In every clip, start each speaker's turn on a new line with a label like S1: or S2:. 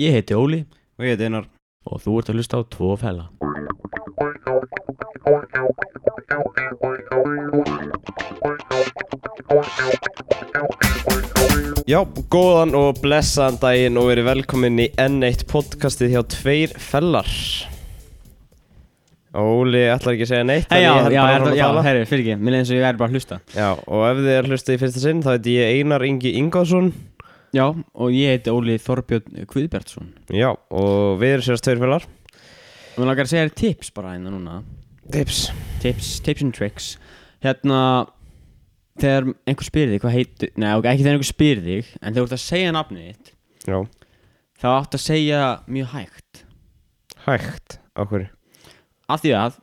S1: Ég heiti Óli
S2: Og ég heiti Einar
S1: og þú ert að hlusta á Tvo fæla.
S2: Já, góðan og blessaðan daginn og verið velkomin í N1 podcastið hjá Tveir Fellar Óli ætlar ekki að segja neitt
S3: Hei, já,
S2: þannig
S3: já,
S2: held bara
S3: já,
S2: áfram að
S3: já,
S2: tala.
S3: herri, fyrir ekki, mér leðum svo ég er bara að hlusta
S2: já, og ef þið er hlustið í fyrsta sinn þá heiti ég Einar Ingi Ingvarsson
S3: Já, og ég heiti Óli Þorbjörn Kviðbertsson
S2: Já, og við erum sérst Tveir Fellar
S3: Og mér langar að segja þér tips bara hérna núna
S2: Tips
S3: Tips, tips and tricks Hérna, þegar einhver spyrir þig, hvað heitir Nei, ok, ekki þegar einhver spyrir þig, en þegar þú ert að segja nafnið þitt
S2: Já,
S3: Þá áttu að segja mjög hægt
S2: hægt, okkur
S3: Af því að,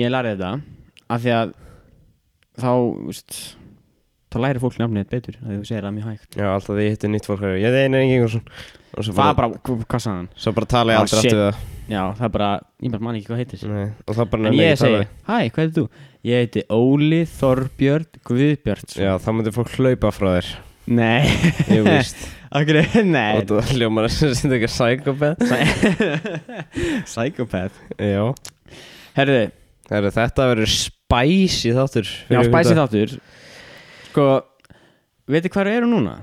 S3: ég lærði þetta Af því að, þá, þú veist Þá læri fólk nafnið þitt betur, þegar þú segir það mjög hægt
S2: Já, alltaf því ég hitti nýtt fólk hér Ég heiti Einar Ingi Ingvarsson Og svo
S3: Það er
S2: bara,
S3: bara, hvað- hvað sagði hann?
S2: svo bara tala ég
S3: Ah,
S2: aldrei
S3: shit.
S2: aftur við það
S3: Já, það er bara, ég bara man ekki hvað heitir
S2: Nei, og það bara
S3: En
S2: nenni
S3: ég
S2: ekki að tala
S3: segi,
S2: við.
S3: hæ, hvað heitir þú? Ég heiti Óli Þorbjörn Guðbjörnsson
S2: Já, þá myndir fólk hlaupa frá þér
S3: Nei,
S2: Ég víst
S3: okkur, nei
S2: Þetta hljómar sem þetta ekki er psychopath
S3: Psy- Psychopath
S2: Já
S3: Herði,
S2: Heru, Þetta verður spicy þáttur
S3: já, spæsi þáttur Sko, veitir hvað eru núna?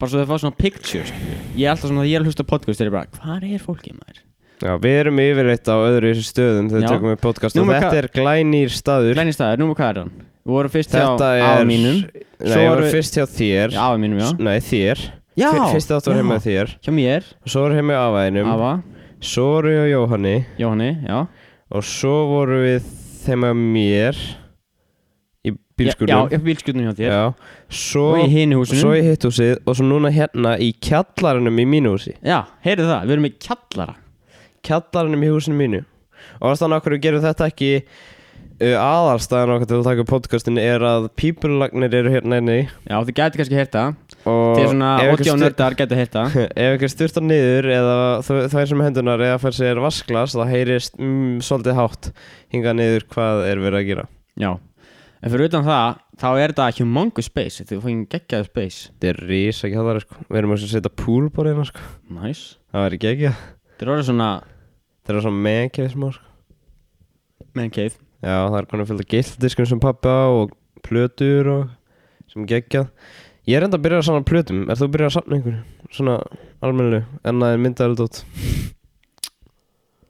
S3: Bara svo þau fá svona pictures Ég er alltaf svona, ég er að hlusta á podcast Þeir eru bara, hvað er fólkið maður?
S2: Já, við erum yfirleitt á öðru stöðum
S3: Já.
S2: þegar við tökum við podcast og
S3: Númer
S2: þetta
S3: hvað-
S2: er glænýr staður
S3: Lenni staðar, númer hvað er hann? Við vorum fyrst hjá
S2: Þetta
S3: afa
S2: er
S3: mínum
S2: Nei,
S3: Svo
S2: ég var
S3: voru-
S2: fyrst hjá þér
S3: Já, afa mínum, já
S2: Nei, þér
S3: Já,
S2: Fyr- Fyrst þáttur var heima hjá þér
S3: hjá mér,
S2: og Svo voru heima hjá afaðinum
S3: afa,
S2: Svo voru hjá Jóhanni
S3: Jóhanni, já
S2: Og svo voru við þeim að mér Í bílskurðum
S3: Já, já, bílskurnum hjá þér
S2: Já. Svo
S3: Og í hinu húsinu
S2: Svo í hitt húsið og svo núna hérna í kjallarinnum í mínu húsi
S3: Já, heyrðu það, við erum í kjallara
S2: Kjallarinnum í húsinu mínu Og ástæðan okkur við gerum þetta ekki uh, aðalstæðan okkur til að taka upp podcastin er að pípulagnir eru hérna inni
S3: Já, þið gæti kannski hérta
S2: og
S3: Þið er svona
S2: ef einhver
S3: 80
S2: stu-
S3: nördar gæti hérta
S2: Ef einhver styrtar niður eða þv- þvær sem hendunar eða fær sér vasklas það heyrist mm, svolítið hátt hingað niður hvað er verið að gera
S3: Já En fyrir utan það, þá er þetta humongous space Þetta er fókin geggjaður space
S2: Þetta er rísa kjallari sko Við erum að setja pool bara hérna sko
S3: Næs nice.
S2: Það verður ekki ekki
S3: Þetta er orðið svona
S2: Það er svona megið smá sko
S3: Man cave
S2: Já, það er konar fullt af gildiskum sem pappi á og plötur og sem geggjað. Ég er enda að byrja að sanna plötum. Er þú að byrja að sanna einhverju? Svona almennileg, en að myndaðið dótt.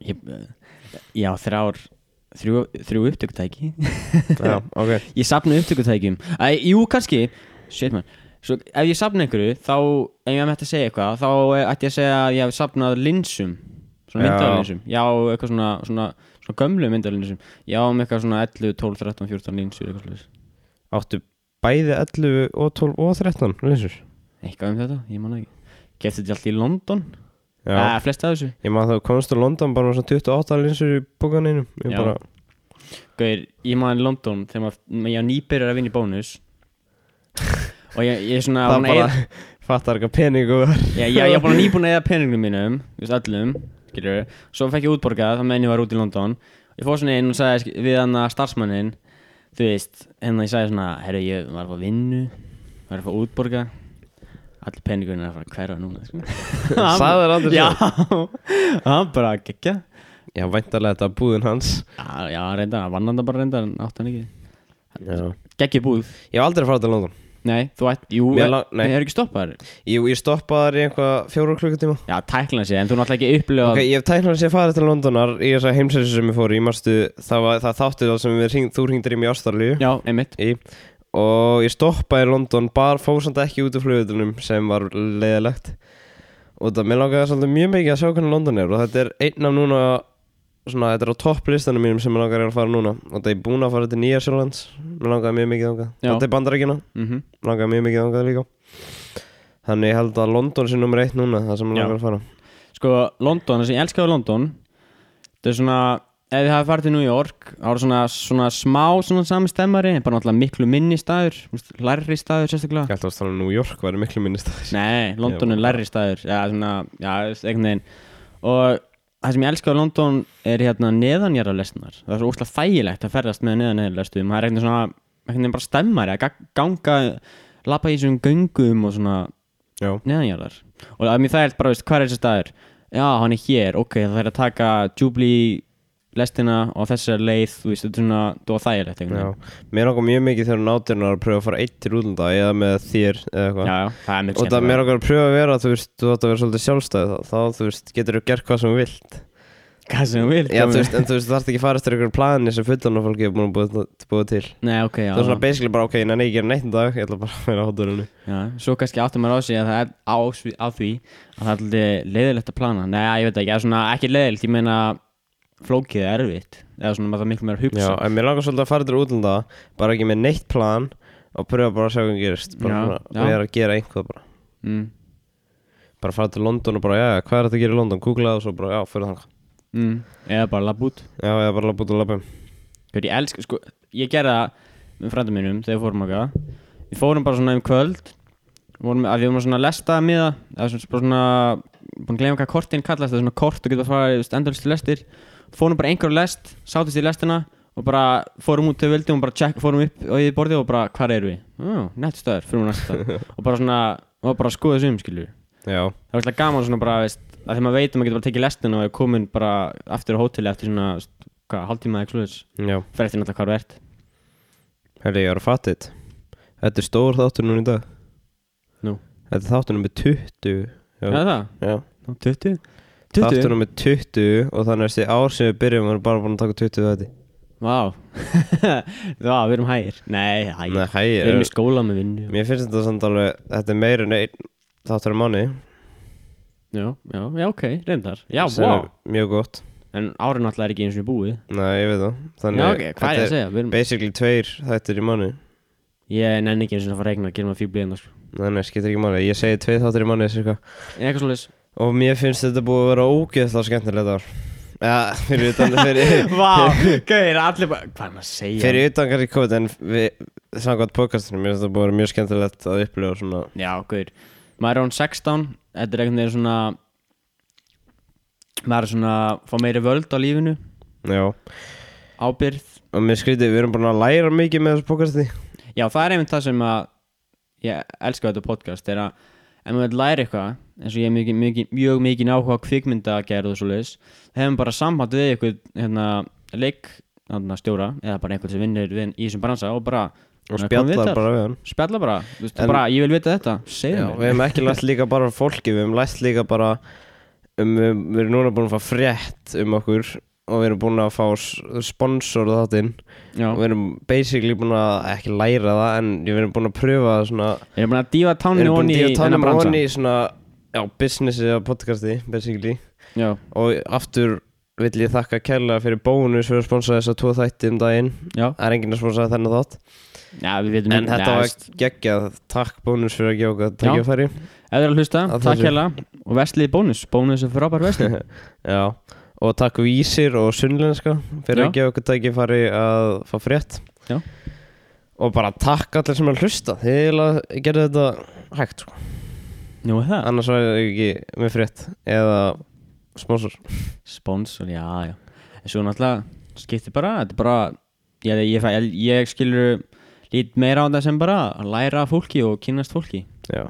S3: ég, Já, þrjár Þrjú, þrjú upptökutæki
S2: Já, ok.
S3: Ég sapna upptökutækjum Æ, Jú, kannski Shit man Svo ef ég sapna einhverju, þá Ef ég mætti að segja eitthvað, þá eh, ætti ég að segja að ég hef sapnað linsum Svona
S2: Já.
S3: myndalinsum Já, eitthvað svona, svona, svona gömlu myndalinsum Já, um eitthvað svona 11, 12, 13, 14 linsur Eitthvað slags
S2: Áttu bæði 11 og 12 og 13, leysur.
S3: eitthvað um þetta, ég man það ekki Gæti þetta allt í London?
S2: Já.
S3: Já. Æ, flest af þessu
S2: Ég maður þá komst til London bara með svona 28 linsur í bókaninu. Ég
S3: Já.
S2: bara,
S3: Gauir, ég man London þegar maður, maður ég nýbyrjar að vinna í bónus Og ég, ég er svona
S2: það
S3: búin að
S2: bara
S3: eyða-
S2: fattar eitthvað peningu var.
S3: Já, já, ég er bara nýbúin að eða peningum mínum Þú veist, öllum, skilur við Svo fekk ég útborgað, þá meðan ég var út í London Ég fór svona inn og sagði sk- við hann að starfsmannin Þú veist, hérna ég sagði svona Herru, ég var að fá vinnu Var að fá útborga Allir peningurinn er að fara að hverfa núna sko. Hann-
S2: Sagði þér aldrei
S3: Já, hann bara gekkja
S2: Já, væntalega þetta búðin hans.
S3: Já, já, reyndar, hann vann hann það bara reyndar, en átti hann ekki
S2: Já.
S3: Gekki búð
S2: Ég hef aldrei farað til London.
S3: Nei, þú ætt, jú,
S2: Mér lang- nei.
S3: nei, er ekki stoppar
S2: Ég, ég stoppaði þar í einhvað fjóru klukkutíma.
S3: Já, tækla sér, en þú náttúrulega ekki upplifa
S2: Ok, ég hef tæknað sér farið til Londonar í þessa heimsæsi sem ég fór í, marstu, það, var, það þáttu þá sem við hring, þú hringdir í mig í Ástralíu
S3: Já, einmitt
S2: í, og ég stoppaði í London, bara fór samt ekki út af flugvöldunum sem var leiðilegt og það, mér langaði svolítið mjög mikið að sjá hvernig London er og þetta er einn af núna, svona, þetta er á topplistanum mínum sem mér langaði að fara núna og það er búin að fara til Nýja Sjálflands, mér langaði mjög mikið þangað,
S3: Já.
S2: þetta er bandarækina,
S3: mm
S2: langaði mjög mikið þangað líka Þannig ég held að London sé nummer eitt núna, það sem mér
S3: Já.
S2: langar að fara
S3: Sko, London, það sem ég elskaði við London Það er svona, ef þið hafið farið til New York Það var svona, svona smá svona sami stemmari en Bara náttúrulega miklu minni staður þú veist, Lærri staður, sérstaklega
S2: Ég held að það var New York, væri miklu minni staðis
S3: Nei, London er lærri staður Já, svona, já, einhvern veginn Og það sem ég elska á London er hérna neðanjara lesnar Það er svo úrslega þægilegt að ferðast með neðanjara lestum Það er einhvern veginn svona, einhvern veginn bara stemmari að ga- ganga, lappa í svona göngum og svona
S2: Já
S3: neðanjarðar Og að mér það er bara, veist, hvað er þessi staður? já, hann er hér, ok, það er að taka Jubilee lestina og þessar leið, þú veist, þetta er svona, þú var þægilegt einhvern
S2: Já,
S3: veginn.
S2: mér langar mjög mikið þegar náttúrunar að pröfa að fara eitt til útlanda eða með þér eða eitthvað
S3: já, já, það er mjög
S2: og það
S3: skemmtilegt.
S2: mér langar að pröfa að vera, þú veist, þú átt að vera svolítið sjálfstæð þá, þá þú veist, getur þú gert hvað sem þú vilt
S3: Hvað sem þú vil,
S2: Já, þú veist, en þú veist, þú þarft ekki að fara eftir einhverjum plani sem fullan og fólki er búin að búa, búa til
S3: Nei, ok, já,
S2: Það er svona basically bara, ok, en ég ger neitt um dag, ég ætla bara að vera á hótturinu
S3: já, svo kannski áttum maður á sig að það er á, svi- á því að það er alltaf leiðilegt að plana, nei, ég veit ekki, það er svona ekki leiðilegt, ég meina flókið er erfitt, eða svona maður það miklu meira að hugsa
S2: Já, en mér langar svolítið að fara til útlanda, bara ekki með neitt plan og pröfa bara að sjá hvað gerist bara
S3: Já,
S2: svona,
S3: já.
S2: og ég er að gera einhvað bara
S3: mm,
S2: bara fara til London og bara, já, hvað er þetta að gera í London, googla það og svo bara, já, fyrir þangað
S3: mm, eða bara labb út
S2: Já, ég er bara að búta að lappa um
S3: Hver, ég elska, sko, ég gerði það með frændum mínum þegar við fórum okkar Við fórum bara svona um kvöld vorum, að Við vorum að svona lesta að miða Það var bara svona, búin að gleyma hvað kortin kallast Það er svona kort og getur að fara endalist til lestir Fórum bara einhver lest, sátist í lestina Og bara fórum út til vildi og bara check, fórum upp og í borðið og bara hvar erum við? Ó, nett stöður, fyrir við næsta Og bara svona, og bara skoða þessum skilur
S2: Já,
S3: Það var alltaf gaman svona bara, veist, að þegar maður veit að maður getur bara tekið lestina og er komin bara aftur á hóteli eftir svona, veist, hvað, hálftíma eða eitthvað sluðis
S2: já,
S3: fer eftir náttúrulega hvað þú ert
S2: herri, ég var að fatta þetta Þetta er stór þáttur núna í dag
S3: Nú.
S2: Þetta er þáttur nummer 20 Já.
S3: Já, það,
S2: Já,
S3: 20
S2: þáttur
S3: 20?
S2: nummer 20 og þannig að þessi ár sem við byrjum erum bara búin að taka 20 þetta
S3: Vá Vá, við erum hægir Nei, hægir
S2: Nei, hæ,
S3: Við erum í
S2: er,
S3: skóla með vinnu
S2: mér finnst þetta samt alveg, þetta er meira en einn þáttur á manni
S3: Já, já, já, ok, reyndar Já,
S2: sem
S3: vá
S2: er mjög gott
S3: En árin alltaf er ekki eins og búið
S2: Nei, ég veit það
S3: Já, ok, hvað er ég
S2: þetta
S3: að segja? Við erum
S2: basically tveir þættir í manni
S3: Ég nenni ekki eins og að fara að regna að gera maður fíblið en það sko
S2: Nei, nei, skiptir ekki máli, ég segi tveir þáttir í manni cirka.
S3: Eitthvað svolítið
S2: og mér finnst þetta búið að vera ógeðslega skemmtilegt ár Já, fyrir utan, fyrir,
S3: Vá, gauðir, allir bara Hvað er maður að segja?
S2: Fyrir utan kannski COVID en við samkvæmt podcastinu, mér finnst það búið að vera mjög skemmtilegt að upplifa svona
S3: Já, gauðir Maður er án 16 Þetta er einhvern veginn svona Maður er svona Fá meiri völd á lífinu
S2: Já,
S3: Ábyrð
S2: og mér skrítið, við erum búin að læra mikið með þessu podcasti
S3: Já, það er einmitt það sem að ég elska við þetta podcast er að ef maður vil læra eitthvað eins og ég er mjög, mjög, mjög mikið náhuga kvikmyndagerð og svo leiðis hefum bara samband við eitthvað hérna, leik hérna, stjóra eða bara einhvern sem vinnur við í þessum bransa og bara
S2: og
S3: hérna, komum við
S2: spjalla
S3: þetta.
S2: bara við hann
S3: spjalla bara, þú veist,
S2: En-
S3: bara ég vil vita þetta
S2: Já,
S3: segðu
S2: við
S3: mér
S2: hefum ekki læst líka bara af fólki, við hefum læst líka bara um, við, við erum núna búin að fá frétt um okkur og við erum búin að fá s- sponsor þáttinn
S3: Já,
S2: og við erum basically búin að ekki læra það en við erum búin að pröfa svona
S3: við erum búin að dífa
S2: við
S3: tánni
S2: erum búin
S3: onni í
S2: að
S3: þennan
S2: tannum
S3: bransa
S2: honni í svona já, businessi á podcasti basically
S3: Já,
S2: og aftur vill ég þakka kærlega fyrir bónus fyrir að sponsa þess að tvo þætti um daginn
S3: já,
S2: það er enginn að sponsa þennan þátt
S3: já, við veitum
S2: en þetta var geggjað takk bónus fyrir að gefa okkur
S3: Já.
S2: tækjafæri
S3: Ef þið eru að hlusta,
S2: Að
S3: takk
S2: þessu.
S3: hella og veslið bónus, bónus er frábær veslið
S2: já og takk vísir og sunnlenska
S3: Já.
S2: fyrir að gefa okkur tækjafæri að fá frétt
S3: Já.
S2: og bara takk allir sem er að hlusta þið eiginlega gerðu þetta hægt sko.
S3: Nú er það
S2: annars væri ég ekki með frétt eða sponsor
S3: Sponsor, já, já En svo náttúrulega skiptir bara Þetta er bara Ég, ég, fæ- ég, ég skilur lít meira á það sem bara að læra af fólki og kynnast fólki
S2: Já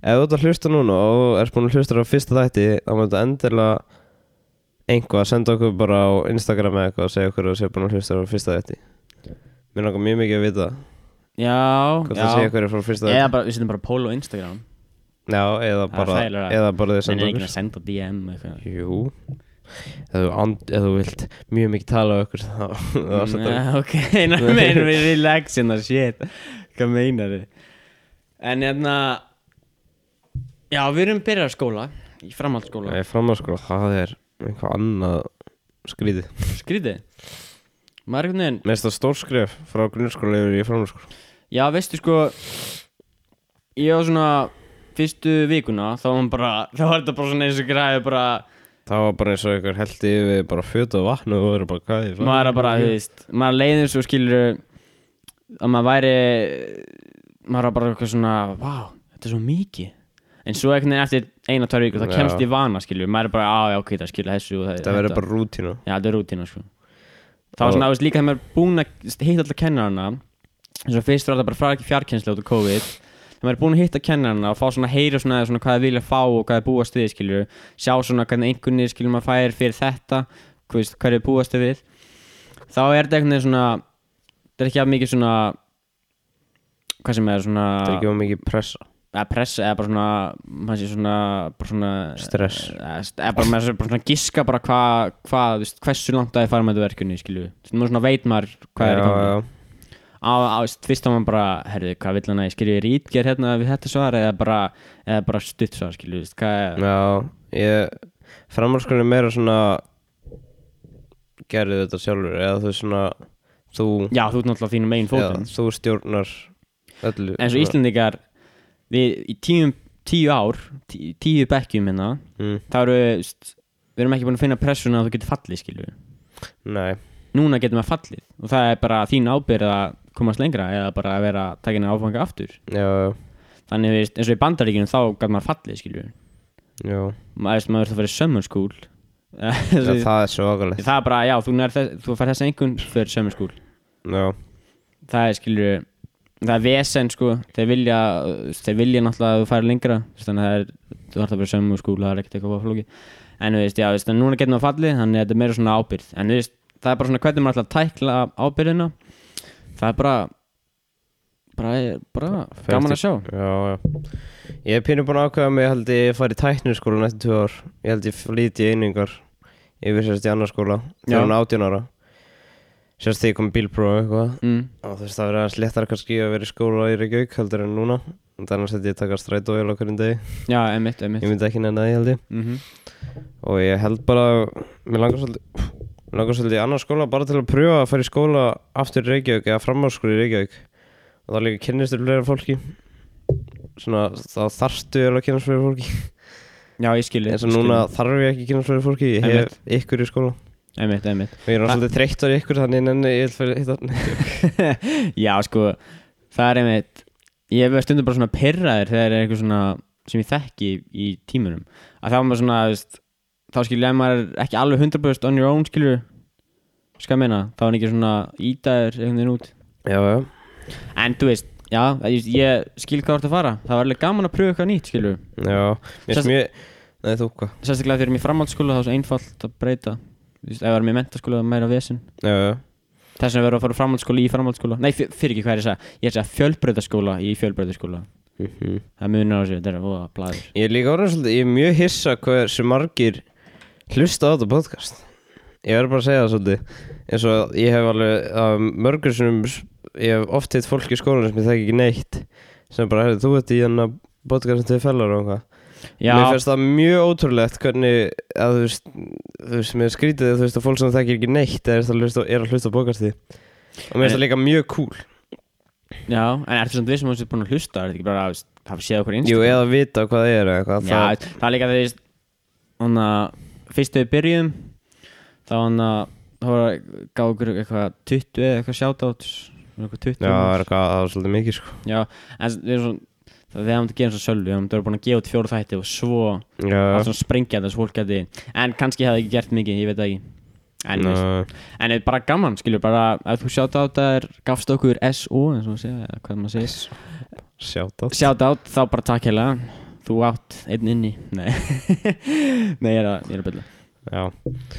S2: Ef þú ert að hlusta núna og ert búin að hlusta á fyrsta þætti þá maður þetta endilega einhvað að senda okkur bara á Instagram eða eitthvað og segja okkur að sé búin að hlusta á fyrsta þætti Mér langar mjög mikið að vita
S3: Já,
S2: hvað það segja
S3: já
S2: okkur frá fyrsta
S3: Eða
S2: þætti
S3: bara, við setjum bara pól á Instagram
S2: Já, eða
S3: Það er
S2: bara,
S3: þægilegra.
S2: eða bara þið
S3: Þannig
S2: senda
S3: er ekki
S2: okkur
S3: að senda DM eitthvað
S2: Jú Ef þú, and, ef þú vilt mjög mikið tala á okkur þá, þá senda okkur
S3: Nei, Ok, ná meinum við relaxin og hérna, shit Hvað meinar þið? En hérna Já, við erum byrjað skóla Í framhaldsskóla
S2: Nei, framhanskóla, það er eitthvað annað skrítið
S3: Skrítið Maður einhvern veginn
S2: Mér finnst það stórskref frá grunnskóla yfir í framhanskóla
S3: Já, veistu sko Ég var svona Fyrstu vikuna Þá var, bara, þá var þetta bara svona eins og græði bara
S2: Það var bara eins og einhver held yfir bara fjötu og vatnu og verið bara hvað ég
S3: Maður er bara, þú veist Maður leiðir svo skilur Að maður væri Maður er bara eitthvað svona Vá, þetta er svo mikið En svo einhvern veginn eftir eina, tvær viku Það
S2: Já.
S3: kemst í vana skilur Maður er bara, á, já, ok, það skilur þessu og það,
S2: Það verður bara rútína
S3: Já, þetta er rútina sko Það var
S2: Og-
S3: svona, þú veist, líka þegar maður er búinn að hitta alltaf kennarana eins og fyrst var þetta bara fara ekki fjarkensla út af COVID þegar maður er búin að hitta kennarna og fá svona heyra svona, svona hvað þið vilja fá og hvað þið búast við skilur sjá svona hvernig einhvernig skilur maður fær fyrir þetta hvað veist, hverju búast þið við þá er þetta einhvern veginn svona þetta er ekki að mikið svona hvað sem er svona
S2: Það er ekki of mikið pressa
S3: eða pressa eða bara svona maður sé svona, bara svona
S2: Stress.
S3: eða st- eða bara, maður sé bara svona giska bara hvað hva, veist, hversu langt að þið fara með þetta verkefni skilju maður svona veit maður hvað er í gangi
S2: já,
S3: á, á veist, fyrst á maður bara herðu hvað vill hann að ég skilju rítger hérna við þetta svar eða bara, eða bara stutt svar skilju veist, hvað er
S2: já, ég framhalskólinni er meira svona gerðu þetta sjálfur eða þú svona þú,
S3: já þú ert náttúrulega á þínum einn
S2: já,
S3: fótum
S2: þú stjórnar öllu
S3: en svo Íslendingar við í tíum, tíu ár tí, tíu bekkjum hérna
S2: mm,
S3: þá eru veist, við erum ekki búin að finna pressuna að þú getur fallið skilju
S2: Nei,
S3: núna getur maður fallið og það er bara þín ábyrð að komast lengra eða bara að vera takin að áfanga aftur
S2: já, já,
S3: þannig þú veist, eins og í bandaríkinu þá gæt maður fallið skilju
S2: já
S3: maður veist, maður þurft að fara í summer school
S2: Já,
S3: það,
S2: það er svo agalegt
S3: það er bara, já, þú, nær þess, þú fær þess einhvern fyrir summer school
S2: Já,
S3: það er skilju það er vesen sko, þeir vilja þeir vilja náttúrulega að þú fær lengra þú veist, þannig að það er, þú þarf að fara í summer school það er ekkert eitthvað flóki en þú veist, já, þú veist, en núna getur maður fallið þannig að þetta er meira svona ábyrð en þú veist, það er bara svona hvernig maður ætlar að tækla ábyrðina það er bara bara, bara gaman að sjá
S2: já, já Ég er pínu búin að ákveða mig, ég held ég fari í tækniskóla næstu tvö ár Ég held ég flýti í einingar Yfir sérst í annarskóla
S3: Já.
S2: Þegar hún er 18 ára Sérst þegar ég kom í bílprófi og eitthvað
S3: mm.
S2: Og þú veist það verið aðeins léttara kannski að vera í skóla í Reykjavík heldur en núna Þannig annars held ég að taka strætóvél á hverjum degi
S3: já, emitt,
S2: Ég
S3: emitt
S2: myndi ekki nenni að því held ég
S3: mm
S2: Og ég held bara, mér langar svolítið Mér langar svolítið í annar skóla bara til að pröfa að fara í skóla aftur í Reykjavík Eða framháskóla í Reykjavík Og þá líka kynnistur fleira fólki Svona þá þarftu eiginlega að kynnast fleira fólki
S3: já, ég skilji
S2: Eins og núna þarf ég ekki að kynnast fleira fólki Ég hef ykkur í skóla
S3: emitt, emitt
S2: Og ég er
S3: Það-
S2: svolítið þreyttur í ykkur þannig nenni ég vil fyrir hittar
S3: já, sko, það er emitt ég hef verið stundum bara svona pirraður þegar er eitthvað svona sem ég þekki í, í tímunum að það var maður svona, þú veist þá skilja maður er ekki alveg 100% on your own skilju skal ég meina, þá er hann ekki svona ídæður einhvern veginn út
S2: Já, já,
S3: en þú veist, já, ég, ég skil hvað þú ert að fara það var alveg gaman að pröfa eitthvað nýtt skilju
S2: já Mér
S3: Sérst-
S2: finnst mjög, nei þú hvað
S3: sérstaklega þegar ég er í framhaldsskóla þá er svo einfalt að breyta Þú veist, ef við erum í mentaskóla þá er meira vesen
S2: Já, já,
S3: þess vegna verður að fara úr framhaldsskóla í framhaldsskóla nei, fyr- fyrir ekki hvað er ég að segja ég er að segja fjölbreytaskóla í fjölbreytaskóla
S2: Mhm.
S3: það munir á þessu, þetta er að voða blæður
S2: Ég er líka orðin svolítið, ég er mjög hissa hversu margir hlusta á þetta podcast Ég verður bara að segja það svolítið eins og ég hef alveg að mörgur sem ég hef oft hitt fólk í skólanum sem ég þekki ekki neitt sem bara, heyrðu, þú ert í hérna hennar podcast sem þið fellar og hvað
S3: já,
S2: Mér finnst það mjög ótrúlegt hvernig að þú veist, þú veist, mér er skrítið að þú veist að fólk sem þekkir ekki neitt er að hlusta, er að hlusta á podcastið og mér
S3: En-
S2: finnst það líka mjög cool
S3: já, en ertu samt við sem þessu búin að hlusta er þetta ekki bara að veist, hafa séð okkur einst
S2: Jú, eða vita hvað það er eða eitthvað
S3: já,
S2: það,
S3: það er líka þegar þannig að fyrst þegar við byrjum þá hann að þá var að gá okkur eitthvað 20 eða eitthvað shoutouts eitthvað 20
S2: já, það er eitthvað, það er svolítið mikið sko.
S3: já, en við erum svona það við hefum þetta geðum svo sölvi, við hefum þetta búin að gefa út fjóru þætti og svo
S2: já,
S3: allt svona sprengja þess fólk gæti en kannski hefði ekki gert mikið, ég veit það ekki en, veist,
S2: Nei.
S3: en er bara gaman, skilur bara ef þú sjátt á þetta, gafst okkur SO eins og maður segja, eða hvað maður segir
S2: Sjátt átt
S3: sjátt á þá bara takk hella þú átt einn inni nei, nei ég er að, ég er að byrja
S2: Já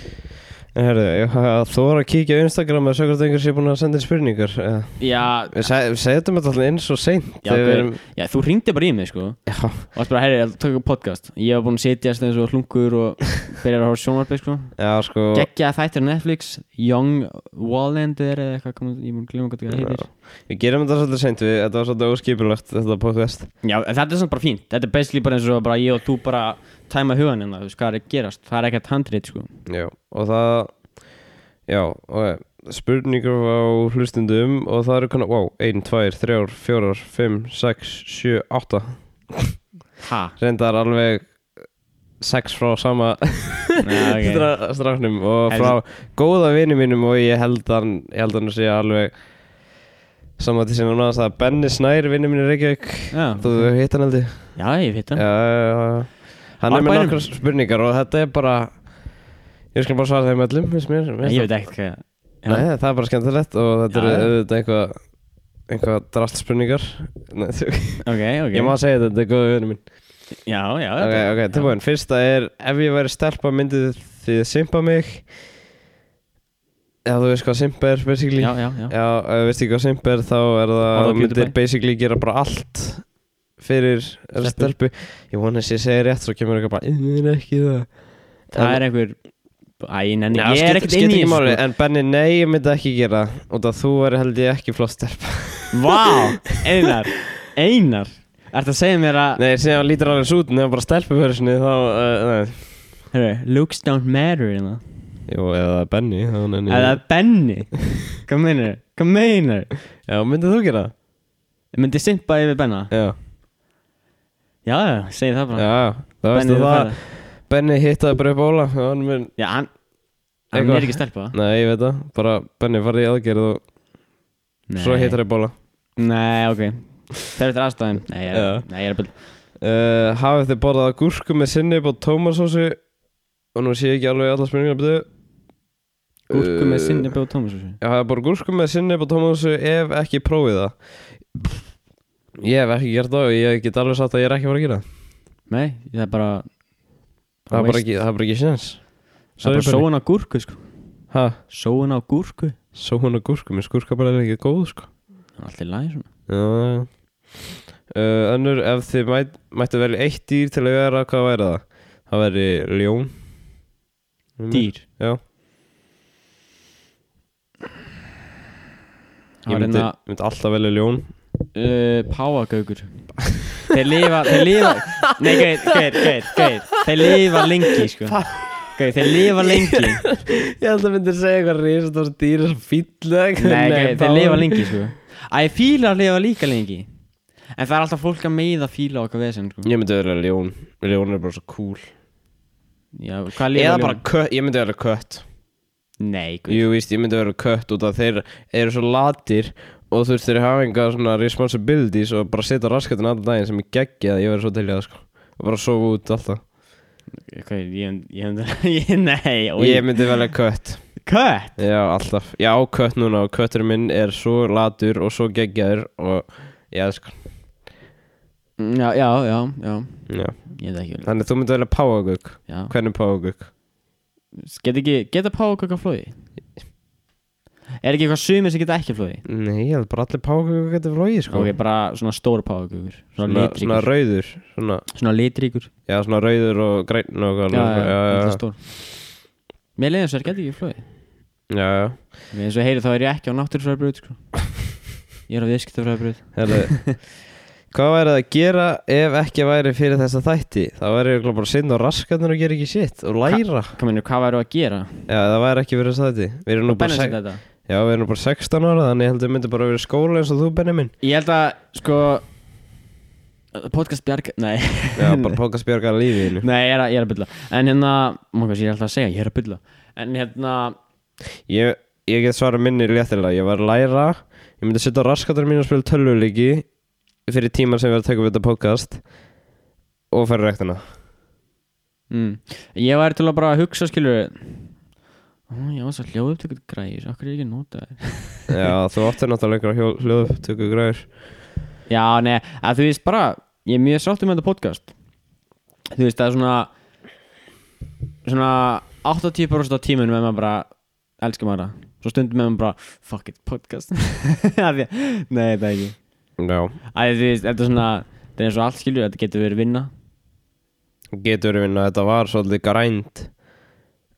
S2: En herðu, ég þóra að kíkja á Instagram að sjá hvort einhver sé búin að senda inn spurningar eða-
S3: já,
S2: Við se- við setjum þetta alltaf inn svo seint
S3: Já,
S2: þegar við
S3: hver-
S2: erum,
S3: já, þú ringdi bara í mig sko og
S2: já,
S3: það bara, herri, tók upp podcast ég var búin að setja eins og hlungur og byrjar að horfa sjónvarpið sko
S2: já, sko
S3: geggja þættir á Netflix Young Wallander eða eitthvað kom, ég mun glemma hvað það heitir
S2: Við gerum þetta svolítið seint við, þetta var svolítið óskipulagt þetta podcast
S3: já, en þetta er samt bara fínt þetta er basically bara eins og bara ég og þú bara tæma hugan hérna, þú veist hvað er að gerast það er ekkert handrið sko
S2: Já, og það Já, og eh, spurningar á hlustundum og það eru konar, wow, 1, 2, 3, 4, 5, 6, 7, 8
S3: ha,
S2: reyndar alveg 6 frá sama
S3: Nei, ok.
S2: Stra- strafnum og
S3: Herri,
S2: frá góða vini mínum og ég held hann ég held hann að segja alveg saman til sinna náðast að Benni Snær vini mín í Reykjavík
S3: já,
S2: þú hitt hann heldur
S3: já, ég veit
S2: Já,
S3: það
S2: já, já. hann er með
S3: Árbænum.
S2: nokkra spurningar og þetta er bara ég skal bara svara þeim öllum finnst mér,
S3: En
S2: mér
S3: ég
S2: finnst
S3: veit ekkert hvað
S2: það. Nei, það er bara skemmtilegt og þetta
S3: Já,
S2: er
S3: já.
S2: auðvitað eitthvað einhvað drast spurningar Nei, þú-
S3: Ok, ok
S2: Ég má segja þetta, þetta er góða vinur minn
S3: Já, já
S2: Ok,
S3: þetta-
S2: ok, tilbúin, fyrsta er Ef ég væri stelpa myndið þið simpa mig Já, þú veist hvað simpa er, basically
S3: Já, já, já
S2: Já, ef þú veist ekki hvað simp er þá er það
S3: Orða
S2: þú myndir
S3: PewDiePie.
S2: basically gera bara allt fyrir
S3: Stelpur.
S2: þessa stelpu Ég vona þess ég segi rétt svo kemur eitthvað bara "Ég er ekki það
S3: Það er einhver Æ, ég nenni Ég er ekkert inn í
S2: þessu
S3: þessu sko.
S2: En Benni, nei, ég myndi ekki gera það og það þú væri held ég ekki flott stelpa
S3: Vá, Einar Einar Ertu að segja mér að
S2: Nei, sem hann lítur alveg sút nefnum bara stelpuförsinni þá, uh, nei
S3: Heyrðu, Looks don't matter innan.
S2: Jú, eða Benni þá nenni ég-
S3: Eða Benny Hvað meinar Hvað meinar
S2: Já, myndið þú gera það?
S3: Myndi simpa yfir Benna
S2: Já,
S3: Já, já, segi það bara
S2: já, það
S3: Benni,
S2: veistu
S3: þú
S2: það
S3: færð.
S2: Benni hittaði bara upp Óla og hann mun
S3: Já, hann Hann
S2: Eitthvað.
S3: er ekki stelpa
S2: Nei, ég veit það, bara Benni farið í aðgerð og svo hittar upp Óla
S3: Nei, ok Þegar þetta er aðstæðum Nei, ég
S2: Já.
S3: er, nei, ég er að byrja
S2: Uh, hafið þið borðað gúrku með sinnið og tómasósu og nú sé ég ekki alveg alla spurningar byrju
S3: Gúrku með
S2: Uh,
S3: sinni bjóð Thomas og svo
S2: Já, hafið borðað gúrku með sinnið og tómasósu ef ekki prófið það Ég hef ekki gert það og ég get alveg sagt að ég er ekki bara að gera það
S3: Nei, það er bara
S2: Það er bara
S3: veist,
S2: ekki, það er bara ekki sinns
S3: Það er bara sóun á gúrku, sko
S2: Hæ,
S3: Sóun á gúrku
S2: sóun og gúrku, mér skúrka bara er ekki góð sko
S3: Það er alltaf læg svona
S2: Já, já uh, Önnur, ef þið mæt, mættu velja eitt dýr til að vera, hvað væri það? Það væri ljón
S3: Dýr
S2: Já
S3: Það
S2: Ég
S3: er
S2: myndi,
S3: hérna
S2: myndi alltaf velja ljón
S3: uh, Páagaugur Þeir lifa, þeir lifa Nei, geit, geit, geit, geit Þeir lifa lengi, sko Geit, þeir lifa lengi
S2: Ég held að myndi segja eitthvað risastór dýr sem fýtla
S3: Nei, geit, þeir lifa lengi, sko Æ, fílar lifa líka lengi En það er alltaf fólk að meiða fíla okkar vesen, sko
S2: Ég myndi vera ljón Ljón er bara svo cool
S3: Já, hvað lifa
S2: Eða
S3: ljón?
S2: bara kött Ég myndi vera kött
S3: Nei, geit
S2: Jú, víst, ég myndi vera kött út af þeir eru svo latir og þú veist þeir hafa enga svona responsibilities og bara setja raskatinn allan daginn sem ég geggi að ég verði svo til í það sko og bara sofa út alltaf
S3: Hvað, ég, ég, ég, nei, og
S2: Ég myndi velja kött
S3: Kött?
S2: Já, alltaf Já, kött núna og köttur minn er svo latur og svo geggjaður og já, sko
S3: Já, já, já, já
S2: já.
S3: Ég veit ekki
S2: Þannig þú myndi velja páagögg
S3: Já
S2: Hvernig páagögg?
S3: Get ekki, geta pákaka flóði? Er ekki eitthvað sumir sem geta ekki flóði?
S2: Nei, ég held bara allir páagöggur getur flóið sko
S3: Ok, bara svona stór pákakur Svona
S2: svona, svona
S3: litríkur
S2: rauður svona,
S3: Svona litríkur
S2: Já, svona rauður og greinn
S3: Já,
S2: og hvað
S3: já,
S2: já,
S3: já,
S2: já,
S3: já. stór Mér leiðum þess að geta ekki flóði
S2: já, já.
S3: Mér eins og heyri þá er ég ekki á náttúrfræðbröð sko. Ég er á viðskiptafræðbröð
S2: Herðu, Hvað væri það að gera ef ekki væri fyrir þessa þætti? Það væri örugglega bara sinn og raskarnir og gera ekki sitt og læra
S3: Hvað mennur, hvað væru að gera?
S2: Já, það væri ekki fyrir þessa þætti Við erum nú bara,
S3: Benna sér
S2: seg...
S3: þetta
S2: já, við erum nú bara 16 ára þannig ég held við myndum bara að vera í skóla eins og þú Benni minn
S3: Ég held að, sko Podcast bjarga, nei
S2: Já, bara pókast bjarga lífiðinu
S3: Nei, ég er að, ég er að bylla En hérna, maður hvað sé ég alltaf að segja, ég er að bylla En hérna,
S2: Ég, ég get svara minni léttilega Ég var að læra Ég myndi setja raskatar mín og spila tölvuleiki Fyrir tíman sem við erum að taka við þetta podcast Og færa rektina
S3: mm, ég væri til að bara hugsa skilur Ó, ég var svo hljóðupptökuð græs, okkur er ég ekki að nota þér
S2: Já, þú áttir náttúrulega einhverja hljóðupptöku græður
S3: Já, nei, að þú veist bara, ég er mjög sátt um þetta podcast Þú veist, það er svona Svona 80% af tímunum er maður bara Elskar maður það Svo stundum er maður bara, fuck it, podcast Af því að- Nei, það er ekki
S2: Já,
S3: Æ, þú veist, þetta er svona Þetta er eins og allt skilur, þetta getur verið vinna
S2: getur verið vinna Þetta var svolítið grænt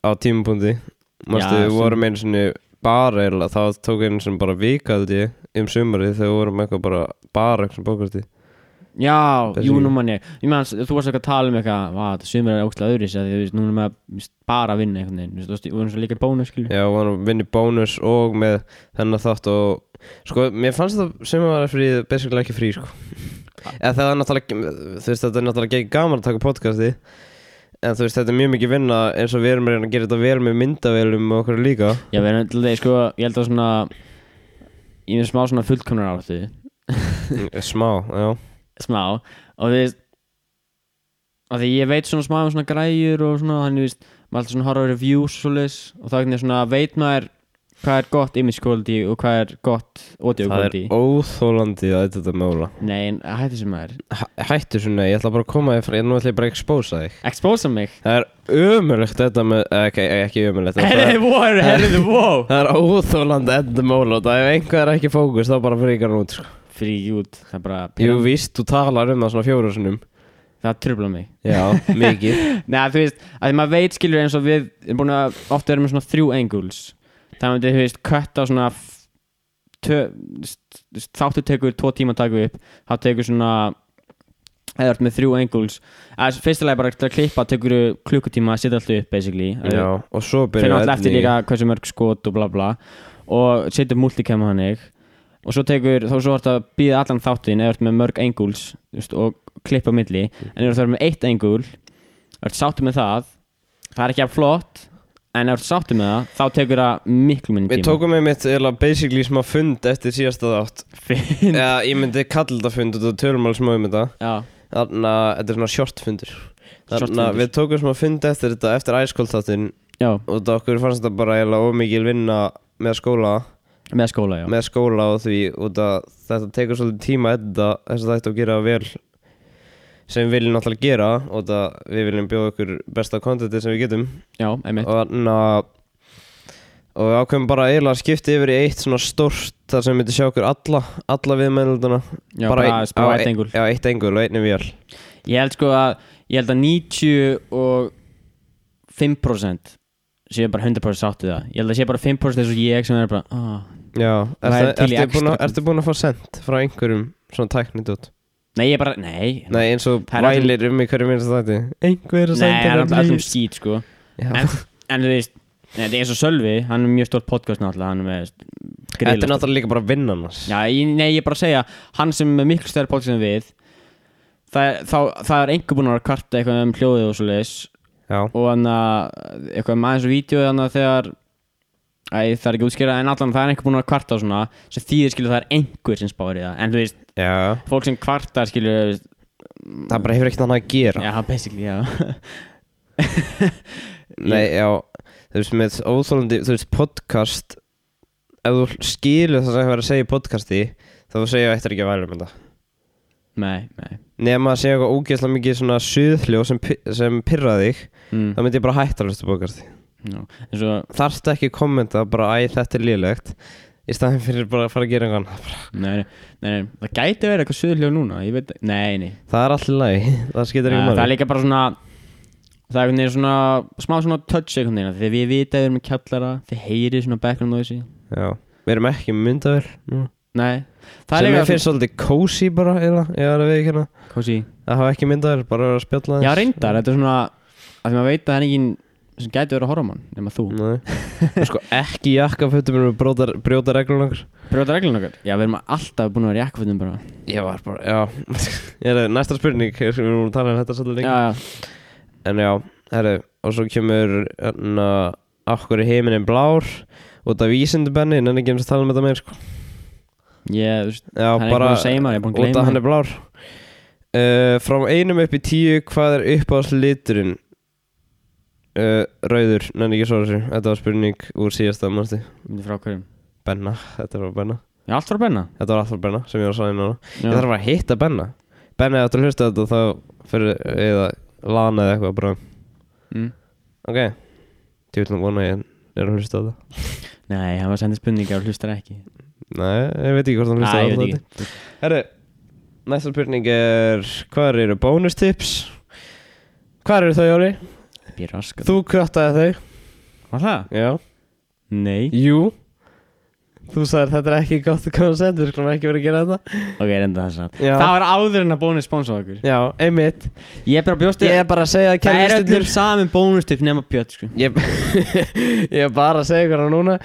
S2: Á tímapunkti Mastu,
S3: Já,
S2: við
S3: sem-
S2: vorum einu sinni bara eða Það tók einu sinni bara vikaði Um sumarið þegar við vorum eitthvað bara Bara eitthvað bókasti
S3: Já,
S2: Þessi-
S3: jú, nú mann ég Ég meðan, þú varst eitthvað að tala um eitthvað Vá, þetta sumir er ógstlega öðru Því að þú veist, núna með að bara að vinna einhvern veginn Þú veist, þú vorum svo líka í bónus, skilju
S2: Já, og hann vinni bónus og með þennan þátt og sko, mér fannst það sem var frí, basically ekki frí, sko eða það er náttúrulega, þú veist, þetta er náttúrulega ekki gaman að taka podcasti en þú veist, þetta er mjög mikið vinna eins og við erum að reyna að gera þetta vel með myndavélum og okkur líka
S3: Já, við erum alltaf, sko, ég held að svona Ég er smá svona fullkomnar áttu
S2: smá, já
S3: Smá Og þú veist Af því ég veit svona smá um svona græjur og svona Þannig, þú veist, maður alltaf svona horfa á reviews og svoleiðis Og þá hvernig svona veit maður hvað er gott image quality og hvað er gott audio
S2: Það er
S3: quality
S2: óþólandi að þetta mála
S3: Nei, en hættu sem maður
S2: Hæ- Hættu svona, ég ætla bara að koma þér frá, ég nú ætla ég bara að expósa þig
S3: Exposa mig
S2: Það er ömulegt þetta með, ekki, ekki ömulegt þetta
S3: Herriði,
S2: er-
S3: wow, herriði, wow
S2: Það er óþólandi þetta mála og það ef einhver er ekki fókus þá bara fríkar hann út sko.
S3: Frík út, það er bara
S2: Jú víst, þú talar um það svona fjóru sinnum
S3: Það trubla mig
S2: Já, mikið
S3: Nei, þú veist, að því maður veit skilur eins og við erum búin að ofta erum með svona þrjú angles Það myndi, þú veist, kött á svona f- tö- st- st- þáttu tekur tvo tíma að taka upp þá tekur svona eða þú ert með þrjú angles eða fyrstilega bara til að klippa tekur klukkutíma að setja allt upp basically
S2: Já, og svo
S3: fyrir
S2: byrjar
S3: alltaf eftir
S2: ending.
S3: líka hversu mörg skot og bla bla og setur multicam hannig og svo tekur, þá svo ertu að býða allan þáttin eða ertu með mörg angles þú veist, og klippa á milli, en ef þú ertu með eitt angle ertu sáttu með það það er ekki að flott en ef þú ertu sáttu með það, þá tekur það miklu minni
S2: Við
S3: tíma
S2: tókum með mitt eða basically smá fund eftir síðasta þátt
S3: Finn-
S2: Já, ég myndi kalla þetta fund og það tölum alveg smá um þetta
S3: Já,
S2: Þannig að þetta er svona short fundur Þannig
S3: Short fundur.
S2: að við tókum smá fund eftir þetta eftir æskóltáttinn
S3: já,
S2: og þetta okkur fannst þetta bara eiginlega ómikil vinna með skóla
S3: með skóla, já
S2: með skóla og því út að þetta tekur svolítið tíma þetta þess að þetta að gera vel sem við viljum náttúrulega gera og það við viljum bjóða okkur besta kontentið sem við getum
S3: Já, einmitt
S2: og þannig að og við ákveðum bara eiginlega að skipta yfir í eitt svona stórt þar sem við myndum sjá okkur alla alla viðmennildana
S3: Já, bara, bara,
S2: á
S3: bara eitt
S2: ein-
S3: engul
S2: Já, eitt engul og einni vél
S3: Ég held sko að ég held að 95% séu bara 100% sátt við það ég held að séu bara 5% eins og ég sem er bara oh.
S2: Já,
S3: Það er
S2: ertu,
S3: til í
S2: ertu, búin að,
S3: extra-
S2: ertu búin að fá sendt frá einhverjum svona tæknit út?
S3: nei ég er bara, nei
S2: Nei, eins og
S3: Það er öllum-
S2: vælir um í hverju minnst þætti Einhver
S3: nei
S2: að
S3: það
S2: senda
S3: er
S2: mér
S3: alltaf allum
S2: list.
S3: skýt sko
S2: Já.
S3: en, en þú veist, nei, þetta er eins og Sölvi hann er mjög stórt podcast náttúrulega hann er með
S2: Þetta er
S3: grilla
S2: náttúrulega líka bara vinnan hans
S3: Já, ég, nei, ég er bara að segja, hann sem er með miklu stærri podcast en við það er, þá, það er einhver búin að vera að kvarta eitthvað um hljóðið og svo
S2: Já,
S3: og hann að eitthvað með aðeins og vídeo þannig að þegar Æ, það er ekki útskýra en allan það er einhver búin að kvarta og svona sem þýðir skilur það er einhver sem spáir í það en þú veist,
S2: já.
S3: fólk sem kvartar skilur þú veist,
S2: það bara hefur ekkert annað að gera
S3: já, basically, já
S2: Nei, já, þú veist með óþólandi, þú veist podcast Ef þú skilur það sem hefur að segja í podcasti Þá þú segja eftir ekki að væla um þetta
S3: nei, nei
S2: Nefn að segja eitthvað ógeðslega mikið svona suðhljó sem, pi- sem pyrra þig
S3: mm,
S2: Þá myndi ég bara hætta að hlusta á podcasti
S3: no. en svo,
S2: þarft ekki að kommenta bara æ þetta er lélegt í staðin fyrir bara að fara að gera eitthvað annað
S3: nei, nei, nei, nei það gæti verið eitthvað suðurljóð núna ég veit, nei, nei
S2: það er alltaf lægi, það skiptir ekki um
S3: Nei, það er
S2: máli
S3: líka bara svona það er einhvern veginn svona smá svona touch einhvern veginn af því að við vita að við erum í kjallara þið heyrið svona background noise
S2: já, við erum ekki myndavel
S3: nei, það
S2: sem
S3: er
S2: ég
S3: líka
S2: finnst svolítið cozy bara eða, ég er að við ekki hérna
S3: svona cozy
S2: að hafa ekki myndavel, bara að vera að spjalla
S3: Já, reyndar, þetta er svona að því maður veit að það er enginn sem gæti verið að horfa á mann nema
S2: Mm.
S3: þú
S2: reynd sko ekki jakkafötum erum við brjóta, brjóta reglum okkur
S3: Brjóta reglun okkar? Já, við erum alltaf búin að vera í jakkafutum bara
S2: ég var bara, já Heru, næsta spurning, við erum að tala um þetta svolítið
S3: Já,
S2: lengi
S3: já,
S2: en já, herru, og svo kemur hérna, okkur í heiminin blár út af vísindubenni, en ennig kemst að tala um þetta meir sko.
S3: ég, þú veist, það
S2: já,
S3: er
S2: bara,
S3: einhvern að segja um maður, ég er búin að
S2: Út
S3: gleyma
S2: að hann er blár uh, Frá einum upp í tíu Hvað er uppáðsliturinn? Uh, rauður, nenni ekki svo þessu Þetta var spurning úr síðasta mannstu
S3: Myndi frá hverjum
S2: Benna, þetta var Benna
S3: Já, allt frá benna
S2: Þetta var alltaf Benna sem ég var að sagði núna Ég
S3: Já,
S2: þarf að hitta Benna Benna, ef þú hlusta þetta þá fyrir eða lana eða eitthvað bara
S3: mm.
S2: Ok, tjóðum vona ég er að hlusta þetta
S3: Nei, hann var að senda spurningar og hlustar ekki
S2: Nei, ég veit ekki hvort
S3: Æ,
S2: hann hlusta
S3: ég veit
S2: þetta
S3: ekki
S2: Herru, næsta spurning er Hvað eru bónustips? Hvað eru þau, Jóli?
S3: Býr raskat
S2: Þú kjöttaði þau
S3: Var það?
S2: Já
S3: Nei
S2: Jú Þú sagðir þetta er ekki gott að koma að senda Við skulum ekki verið að gera þetta
S3: Ok, reynda það satt
S2: Já.
S3: Það var áður en að bónus sponsa okkur
S2: Já, einmitt
S3: Ég er bara að bjóst
S2: Ég er bara að segja að
S3: Það er öllum
S2: kerfistillir
S3: saman bónustipp nema Björn, sko
S2: ég, ég er bara að segja ykkur það núna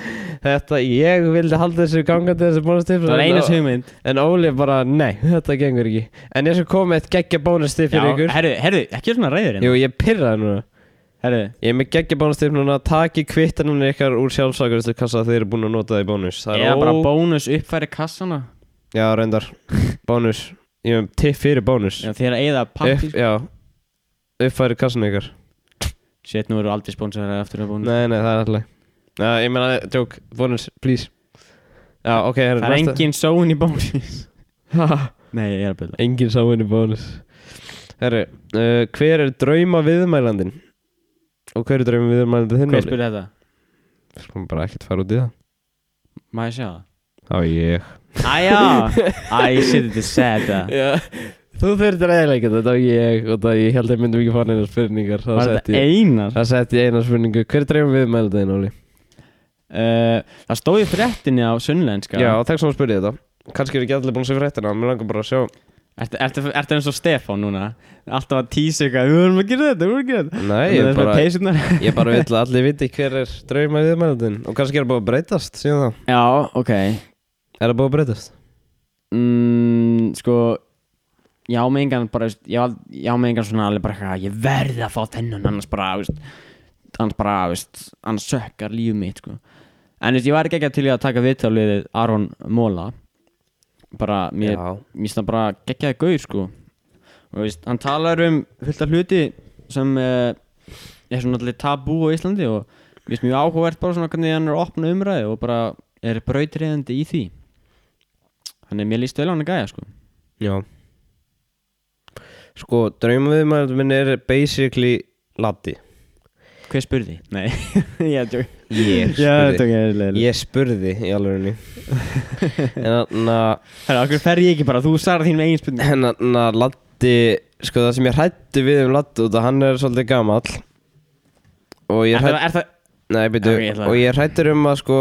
S2: Þetta, ég vildi halda þessu gangandi þessu bónustips
S3: Það var eina hugmynd
S2: En Óli bara, nei, þetta gengur ekki En ég skal koma með eitt geggja
S3: Já,
S2: bónustip fyrir ykkur
S3: herru, herru, ekki svona ræður
S2: Jú, ég pirraði núna
S3: herru
S2: Ég er með geggja bónustip núna Taki kvittanunni ykkar úr sjálfsakarustu kassa Þeir eru búin að nota það í bónus Það
S3: Eða
S2: er
S3: bara
S2: ó...
S3: bónus uppfæri kassana
S2: Já, reyndar Bónus Ég hef tipp fyrir bónus
S3: Já, Þeir að eigða
S2: upp,
S3: pappir
S2: Já Uppfæri kassan ykkar
S3: Shit, nú eru aldrei sponsorar aftur að bónus
S2: Nei, nei, það er alltaf Já, ég meina, joke, bonus, please Já, ok, herri,
S3: Það er
S2: næsta.
S3: engin sóun í bónus Nei, ég er að byrja
S2: Engin sá henni bónus Herru, uh, hver er drauma viðmælandin? Og hver er drauma viðmælandin þinn?
S3: Hver
S2: Óli?
S3: spyrir þetta?
S2: Skulum bara ekkert fara út í það
S3: Má ég sjá það?
S2: Á ég
S3: Æja Æ, shit, þetta er sad það
S2: Já, þú þurftir eiginlega ekki þetta og ég Og það ég held að ég myndum ekki fara neina spurningar
S3: Var þetta einar?
S2: Það sett ég eina spurningu Hver er drauma viðmælandin þinn, Óli?
S3: Uh, Það stóð í fréttinni á sunnlenska
S2: Já, og þekst hún að spyrja þetta Kanski eru ekki allir búin að segja fréttina Mér langar bara að sjá
S3: Ertu, ertu, ertu eins og Stefán núna? Alltaf að tísa eitthvað Við vorum að gera þetta, við vorum að gera þetta
S2: Nei,
S3: Það
S2: ég
S3: er
S2: bara,
S3: bara peysurnar
S2: ég bara vil að allir viti hver er drauma viðmælandin Og kannski er það búin að breytast síðan þá
S3: Já, ok
S2: Er það búin að breytast?
S3: mm, Sko Ég á með engan bara veist, Ég á ég á með engan svona alveg bara eitthvað, Ég verði að fá þennan annars bara veist, Annars bara, veist, annars sökkar líf mitt sko. En veist, ég var ekki ekki til í að taka viðtal við Aron Móla Bara, mér
S2: Já
S3: mér finnst það bara geggjaði gaur sko og veist, hann talar um fullt af hluti sem uh, er svona allir tabú á Íslandi og mér finnst mjög áhugavert bara svona hvernig hann er að opna umræði og bara er brautriðandi í því hann er mér líst vel á hann að gæja sko
S2: Já Sko, draumaviðmæður minn er basically Latti
S3: hver spurði? Nei, ég er tjók
S2: Ég
S3: Já,
S2: spurði
S3: ég er leil
S2: Ég spurði í alvegurinni En þarna
S3: Hæra, okkur fer ég ekki bara, þú sagði þín með eigin spurning
S2: En þarna Latti Sko, það sem ég hrætti við um Latti út að hann er svolítið gamall Og ég
S3: Er það,
S2: hrætti
S3: er það,
S2: Nei, byrju
S3: Ok, ég ætla að-
S2: Og ég hrættur um að sko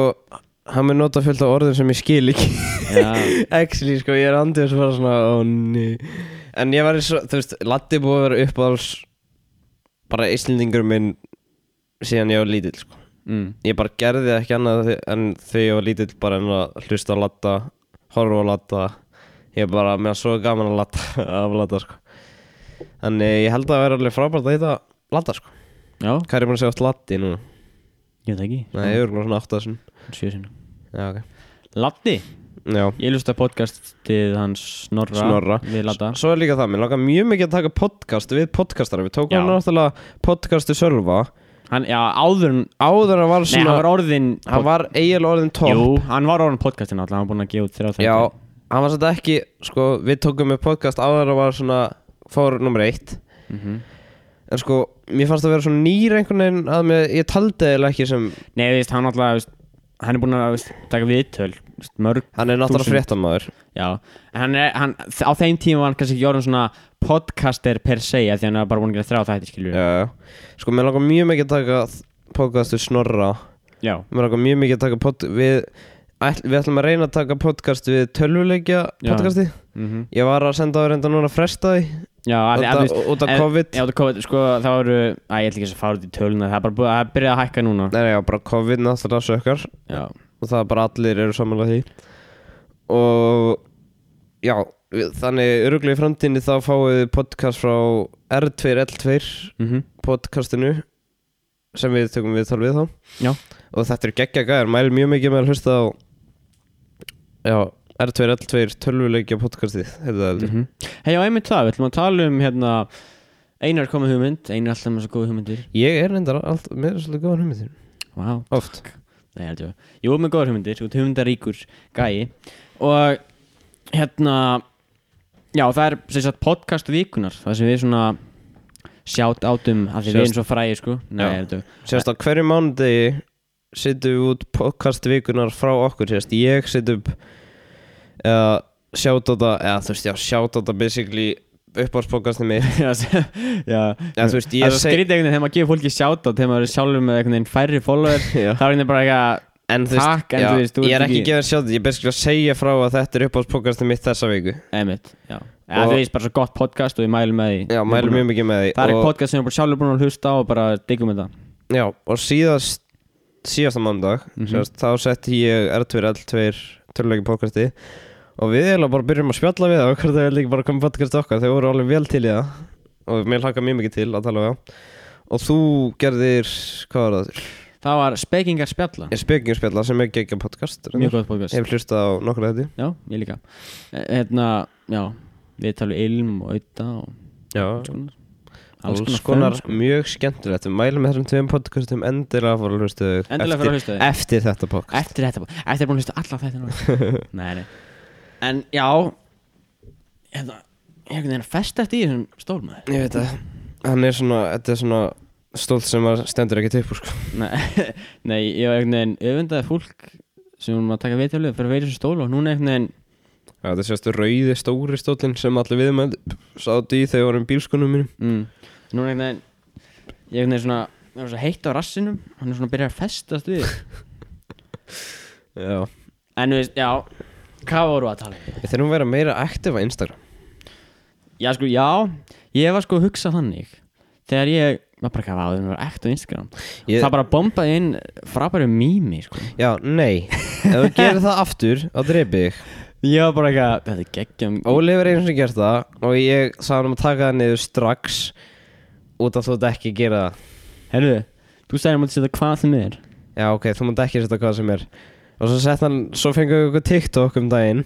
S2: Hann mun nota fullt af orðum sem ég skil ekki
S3: já,
S2: Actually, sko, ég er andið að fara svona Ó, ný En ég var í svo, þú veist, Latti er búið að vera uppáðals Bara Íslendingur minn Síðan ég var lítill, sko
S3: mm,
S2: Ég bara gerði það ekki annað þi- en þegar ég var lítill Bara en að hlusta á Latta Horfa á Latta Ég bara, mér var svo gaman að Latta Af Latta, sko Þannig ég held að það vera alveg frábært að hitta Latta, sko
S3: já,
S2: Hvað er ég búin að segja oft Latti núna?
S3: ég veit það ekki
S2: Nei, ég er örugglega svona átt að þessum
S3: sjö sinna
S2: Já, ok
S3: Latti,
S2: Já
S3: ég lusta podcast til hans Snorra
S2: Snorra.
S3: Við Latta
S2: Svo er líka það, mér langar mjög mikið að taka podcast við podcastara Við tókum
S3: Já.
S2: hann náttúrulega podcastu Sölva
S3: Hann, já, áður en
S2: Áður hann var
S3: Nei,
S2: svona
S3: hann var orðin
S2: hann var eiginlega orðin top
S3: Jú, hann var orðin podcastin alltaf Hann var búinn að gefa út þrjá þetta
S2: Já, hann var svolítið ekki Sko, við tókum með podcast áður hann var svona Fór nummer eitt
S3: Mhm.
S2: En sko, mér fannst það vera svona nýr einhvern veginn Að mér, ég taldi eða ekki sem
S3: Nei, þú veist, hann alltaf þú veist, Hann er búinn að þú veist, taka viðtöl þú veist, Mörg,
S2: Hann er náttúrulega
S3: Þúsund.
S2: fréttamaður
S3: já En hann er, hann, á þeim tíma var hann kannski ekki orðin svona Podcaster per se af Því hann var bara búinn að gera þrjá þetta, skilur
S2: Já, já Sko, mér langar mjög mikið að taka podcastu Snorra
S3: já,
S2: Mér langar mjög mikið að taka pod Við, ætl, við ætlum að reyna að taka podcast Við tölvuleikja
S3: Já.
S2: podcasti
S3: mm -hmm.
S2: Ég var að senda á reynda núna að fresta því
S3: já af því- af því-
S2: Út af- Út af
S3: en-
S2: COVID
S3: Já, það COVID, sko, það voru Æ, ég ætla ekki að fara út í töluna Það er bara búið að byrja að hækka núna
S2: Nei, já, bara COVID náttúrulega sökkar
S3: Já,
S2: Og það er bara allir eru samanlega því Og Já, við- þannig öruglega í framtíðinni Þá fáið þið podcast frá R2L2
S3: mm
S2: podcastinu Sem við tökum við við þá
S3: Já.
S2: Og þetta er geggja gæðar, mæl mjög mikið með að hlusta á Já, R2L2 tölvuleikja podcastið Heyrðu það
S3: mm
S2: heldur
S3: -hmm. Hei, já, einmitt það, við ætlum að tala um hérna Einar komið hugmynd, einar er alltaf með svo góð hugmyndir
S2: Ég er reyndar allt, mér er svolítið góðan hummið þín
S3: Vá wow.
S2: Oft
S3: Nei, heldur ég. Jú, með góðar hugmyndir, þú ert hugmyndaríkur gæi og hérna já, það er sem sagt podcast vikunar, það sem við svona sjátt átum af því við
S2: Sjást-
S3: erum svo fræði sko Nei,
S2: Já.
S3: heldur ég.
S2: Sérst á hverju mánudegi setjum við út podcastvikunar frá okkur Sérst ég setjum upp eða sjátáta eða þú veist já sjátáta basically uppáðspodcastin mitt
S3: Já, s- já
S2: eða þú veist
S3: Það er
S2: ég
S3: svo
S2: seg
S3: skrítið einhvern veginn þegar maður gefur fólki sjátt átt þegar maður er sjálfur með einhvern veginn færri follower
S2: Já.
S3: þá er einhvern bara eitthvað
S2: en þú veist,
S3: Takk, en
S2: já,
S3: þú veist, þú
S2: ég
S3: ert
S2: er ekki
S3: ekki-
S2: gefið sjátt ég er basically að segja frá að þetta er uppáðspodcastin mitt þessa viku
S3: emitt, já Já,
S2: Og-
S3: þú veist bara svo gott podcast og ég mælu með því
S2: já mælum mjög mikið með því
S3: Það er
S2: og,
S3: eitt podcast sem ég er bara sjálfur búin að hlusta á og bara diggum þetta
S2: já, og síðast síðasta mánudag
S3: Mhm.
S2: sérst, þá setti ég R2L2 töluleiki podcasti og við erum bara byrjum að spjalla við það og hvort það er líka bara komið podcast okkar þau voru alveg vel til í það og mér hlaka mjög mikið til að tala við það og þú gerðir, hvað var það aftur?
S3: Það var Spekingar spjalla,
S2: ég spekingu spjalla sem er geggjum podcast reyndar.
S3: mjög gott podcast
S2: ég hef hlustað á nokkru þetta
S3: Já, ég líka um Eh, Hérna, já, við talum ilm og auða og
S2: já,
S3: svona
S2: alls konar sko.
S3: fun,
S2: mjög skemmtilegt við mælum með þessum tveim podcastum endilega fyrir að hlusta þau
S3: Endilega fyrir að hlusta þau.
S2: eftir þetta
S3: sko.
S2: podcast
S3: Eftir þetta, eftir að búin að hlusta alla þetta núna Nei, nei En já Hérna, ég hef hérna fest eftir í þessum stólmaður
S2: ég veit að hann er svona þetta er svona stólt sem að stendur ekki upp úr sko.
S3: Nei, nei, ég hef hérna öfundaði fólk sem vorum að taka viðtjálfið fyrir að vera í þessum stól og núna einhvern
S2: Já, þetta sést rauði stóri stólinn sem allir viðmænd sátt í þegar vorum bílskunum mínum
S3: veginn mm, Núna einhvern veginn Ég hef hérna svona, ég var svo heitt á rassinum Hann er svona að byrja að festast við
S2: já
S3: En þú veist, já Hvað voru að tala um?
S2: við þurfum að vera meira aktiv á Instagram
S3: Já, sko, já, ég var sko að hugsa þannig Þegar ég, maður bara hvað áður, maður var ekkt á Instagram
S2: Ég-
S3: Það bara bombaði inn frábæru mými, sko
S2: já nei ef þú gerir það aftur á dreipið þig
S3: Ég var bara eitthvað, þetta er geggjum
S2: Óli hefur einu sem gert það og ég sagði hann um að taka það niður strax út af þú þetta ekki gera það
S3: Herðu, þú sagði að maður setja hvað sem er
S2: Já ok, þú mátt ekki setja hvað sem er Og svo sett hann, svo fengið við eitthvað TikTok um daginn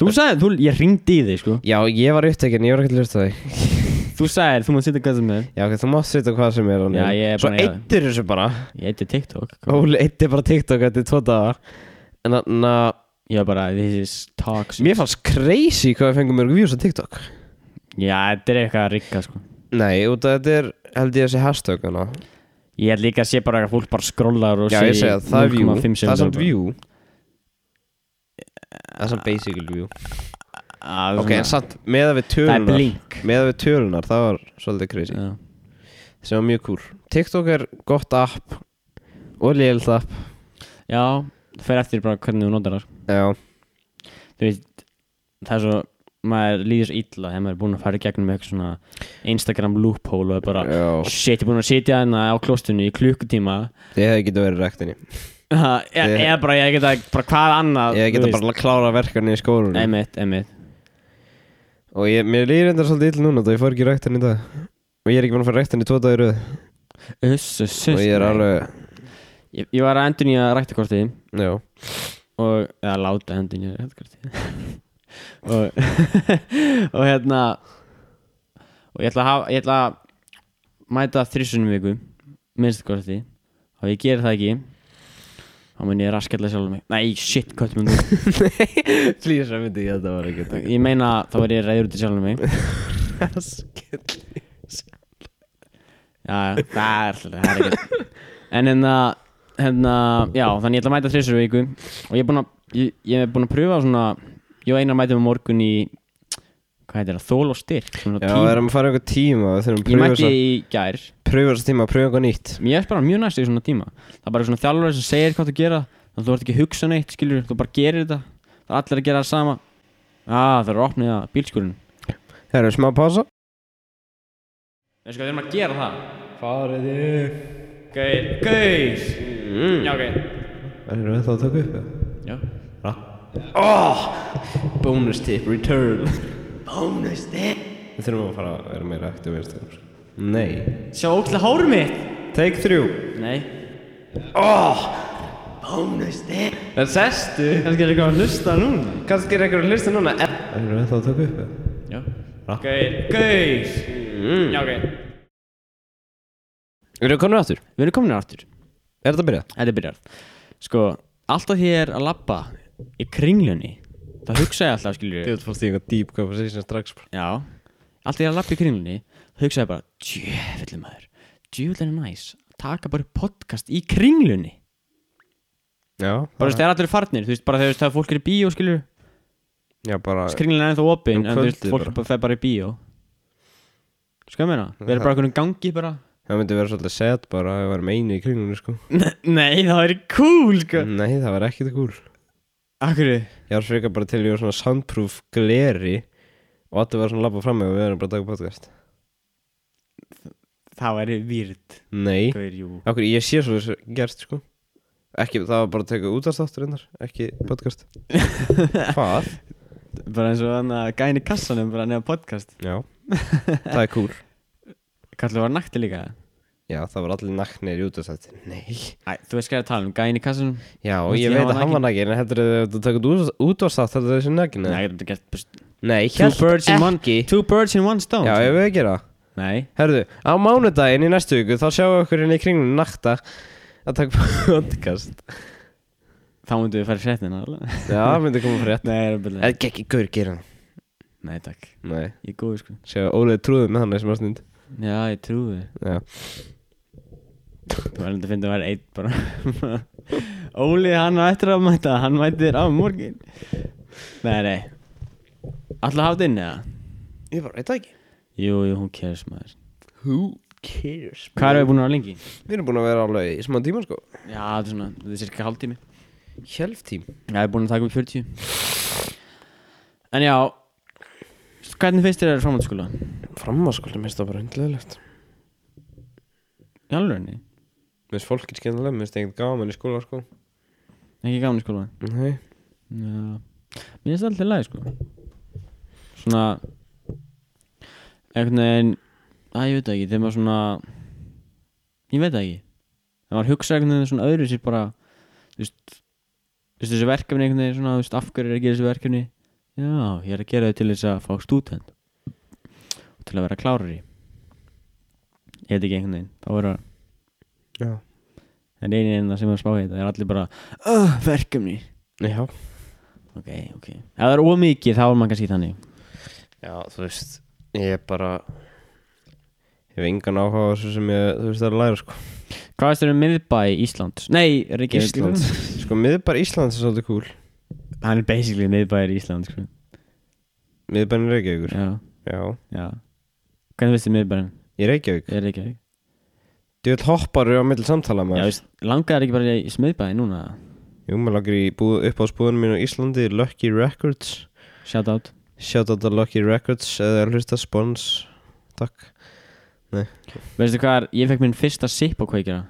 S3: Þú sagði, þú, ég ringdi í þig, sko
S2: Já, ég var upptekinn, ég var ekki að hlusta á þig
S3: Þú sagði, þú maður setja hvað sem er
S2: Já ok, þú mátt setja hvað sem er hann
S3: Já, ég er
S2: Svo
S3: búin að gera
S2: eittir þessu bara
S3: Ég heiti TikTok sko.
S2: Óli eittir bara TikTok eftir tvo daga En þannig að
S3: Ég var bara, this is sko." talks
S2: mér fannst crazy hvað við fengum mörg views á TikTok
S3: Já, þetta er eitthvað að rigga, sko
S2: Nei, út af þetta er held ég þessi hashtag hana.
S3: Ég held líka að sé bara að fólk bara skrollar og
S2: Já,
S3: sé
S2: ég segja, það er
S3: 0,5
S2: view Það er
S3: sekúndur
S2: samt
S3: bara.
S2: view Það er samt basically view
S3: Ah, það er
S2: Ok, en
S3: svona-
S2: samt með að
S3: Það
S2: við
S3: er
S2: tölunar
S3: blink
S2: Með að við tölunar, það var svolítið crazy
S3: Já.
S2: Sem var mjög cool TikTok er gott app Og lélt app
S3: Já, það fer eftir bara hvernig þú notar það sko.
S2: Já,
S3: Þú veist, það er svo maður líður svo illa þegar maður er búinn að fara í gegnum eitthvað svona Instagram loophole og er bara
S2: já
S3: shit, ég er búinn að sitja hérna á klostunni í klukkutíma
S2: Ég hef getið verið í rektinni
S3: Ha, e-
S2: Ég-
S3: eða bara, ég geta bara hvað annað
S2: Ég hef getið bara að klára verkarni í skólunum
S3: Einmitt, einmitt
S2: Og ég, mér líður endur svolítið ill núna Það ég fór ekki í rektinni í dag Og ég er ekki búin að fara í rektinni í tvo dagur Og
S3: Uss, uss, uss
S2: ég er alveg
S3: Ég, ég var að endur nýja ræktakortið
S2: Já
S3: og, eða láta endur nýja ræktakortið og, og hérna og ég ætla að hafa, ég ætla að mæta þrísunum viku minnstakorti og ef ég gerir það ekki þá mun ég raskella sjálfur mig nei, shit, hvað mun þú
S2: Flýs að myndi ég að þetta var ekki
S3: ég meina þá er ég reyður út í sjálfur mig já, já, það er alltaf það er ekki en hérna, hérna já, þannig ég ætla að mæta þrísunum viku og ég er búinn að ég, ég er búinn að pröfa svona ég og einar mætum á morgun í hvað heitir það, þól og styrk svona
S2: Já,
S3: tíma.
S2: við erum að fara einhver tíma Við þurfum að
S3: ég
S2: pröfa
S3: mætti
S2: þessa-
S3: í gær
S2: pröfa þessa tíma Pröfa eitthvað nýtt
S3: Mér er bara mjög næst í svona tíma Það er bara svona þjálfur sem segir hvað þú gera Þannig að þú ert ekki að hugsa neitt, skilur Þú bara gerir þetta Það er allir að gera það sama ah, Það er að opna í það, bílskúrin
S2: Herru, smá pása
S3: Við sko, við erum að gera það Farið þið Gauð, gauð Já, ok
S2: Mm. Erum við þá að taka upp?
S3: Já
S2: Bonus tip, return Bonus tip Við þurfum að fara að vera meira aktiv einstaklega Nei
S3: Sjá ókslega hárið mitt
S2: Take þrjú
S3: Nei Oh.
S2: En sestu
S3: Kannski er eitthvað að hlusta núna
S2: Kannski er einhver að hlusta núna Erum við þá að taka upp?
S3: Já Gauð, gauð Já, ok
S2: Erum við konur aftur?
S3: Við erum komin aftur
S2: Er þetta að byrja?
S3: Þetta byrjar Sko, alltaf því ég er að labba Í kringlunni Það hugsa ég alltaf, skilur
S2: Ég fórst í einhver deep conversation strax sko.
S3: Já Alltaf ég er að lappa í kringlunni Hugsaði bara Djöfellu maður Djöfellu næs Taka bara upp podcast í kringlunni
S2: Já
S3: Bara þú veist, það er allir farnir Þú veist, bara þegar þú veist, þegar fólk er í bíó skilur
S2: Já, bara
S3: Kringlunni er ennþá opin
S2: Um
S3: En þú veist,
S2: kvöldið
S3: fólk
S2: bara.
S3: bara. fer bara í bíó Sko ég meina Við erum bara einhvern gangi bara
S2: Það myndi vera svolítið sad bara að við varum einu í kringunni sko
S3: Nei, það er cool sko
S2: Nei, það var ekkert cool
S3: Akkur
S2: Ég var frekar bara til að ég var svona soundproof gleri Og allir var svona að labba fram með og við erum bara að taka podcast
S3: Það væri výrt
S2: Nei
S3: Hvað er jú
S2: Akkur, ég sé svo þessu gert sko ekki, Það var bara að teka útastáttur innar Ekki podcast Hvað?
S3: Bara eins og þannig að gæni kassanum Bara nefna podcast
S2: Já Það er cool
S3: Kallu var nakti líka
S2: Já, það var allir naknir í útastáttur Nei
S3: Æ, þú veist hvað ég er að tala um Gæni kassanum
S2: Já,
S3: Þú veist,
S2: ég
S3: ég
S2: veit
S3: var
S2: að hann var nakin En heldur þau að taka útastáttur Það er þessi nakin
S3: Nei, ég er að geta
S2: Nei,
S3: Two
S2: hélt
S3: birds in one
S2: ekki
S3: Two birds in one stone
S2: Já, ég veit ekki það
S3: Nei
S2: Herðu, á mánudaginn í næstu viku þá sjáum við okkur inn í kringlunni nakta að taka podcast
S3: Þá myndum við fara í fréttina alveg.
S2: Já, myndi koma frétt
S3: Nei, er að byrja
S2: Eða gekk í gaur gera það
S3: Nei, takk
S2: Nei,
S3: Ég er góð, sko
S2: séu Ólið trúðið með hann þessum ástund
S3: Já, ég trúi
S2: Já,
S3: Þú verður að finna að vera einn bara Óli, hann á eftir að mæta Hann mætir á morgun Nei, nei Alla hafa þetta inn eða?
S2: ég bara, veit það ekki
S3: Jú, jú, hún cares maður
S2: Who cares?
S3: Hvað erum við búin að vera lengi?
S2: Við erum búin að vera alveg í smá tíma sko
S3: Já, þetta er svona, þetta er cirka hálftími
S2: Hjálftím
S3: Já, ég er búin að taka um 40 En já Hvernig finnst þér að framhaldsskóla?
S2: Frammaskóla minnst það bara hundlegilegt
S3: Í alvegni?
S2: Minnst fólk er skemmtilega, minnst ekkert gaman í skóla sko
S3: Ekki gaman í skóla?
S2: Nei
S3: Já, mér finnst það alltaf læg sko Svona einhvern veginn Æ, ég veit það ekki, þegar maður svona Ég veit það ekki Þegar maður hugsa einhvern veginn svona öðru sér bara Þú veist Þú veist þessi verkefni einhvern veginn svona Þú veist af hverju er að gera þessi verkefni Já, ég er að gera þau til þess að fá stúdent Og til að vera klárari Ég veit ekki einhvern veginn Þá vera
S2: Já
S3: En einin enn það sem er að spá í þetta er allir bara "Ugh, Verkefni
S2: Já
S3: Ok, ok Ef það er ómikið þá er maður kannski þannig
S2: Já, þú veist, ég er bara Ég hef engan áhuga á þessu sem ég, þú veist, það er að læra sko
S3: Hvað veist þér um miðbæ Íslands? Nei, Reykjavík
S2: Íslands Sko, miðbær Íslands er svolítið cool
S3: Hann er basically miðbæir Íslands sko.
S2: Miðbærin er Reykjavíkur
S3: Já,
S2: Já,
S3: já Hvernig veist þér miðbærin?
S2: í Reykjavík
S3: Er Reykjavík?
S2: Þú vil hopparu á milli samtala
S3: Já,
S2: maður
S3: veist, langar þér ekki bara í smiðbæi núna?
S2: Jú, maður lagur í bú, upp á spúðunum mínu í Íslandi Lucky Records
S3: Shout out
S2: Shout out to Lucky Records eða hlusta spons Takk
S3: Veistu hvað, er- ég fekk minn fyrsta sipp á kveikjara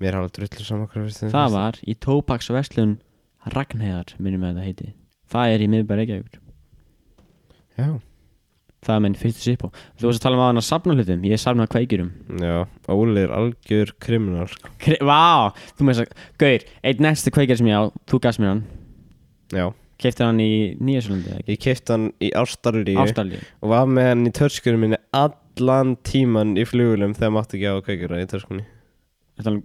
S2: Mér hafa drullu saman hvað fyrst
S3: Það var í tópaksverslun Ragnheðar, minnum við að þetta heiti Það er í miðbæi Reykjavík
S2: Já
S3: Það er minn fyrsta sipp á Þú varst að tala um að hann að safna hlutum Ég safna kveikjurum
S2: Já, Óli er algjör kriminal sko.
S3: Kri- Vá, þú með þess að Gaur, eitt næsti kveikjar sem ég á Þú gafst mér hann
S2: Já,
S3: Keftir hann í Nýjasundi
S2: ég keipt hann í Ástaríu
S3: Ástallíu
S2: og var með hann í törskunum minni allan tíman í flugulum þegar mátti ekki á kveikjara í törskunni
S3: Þetta er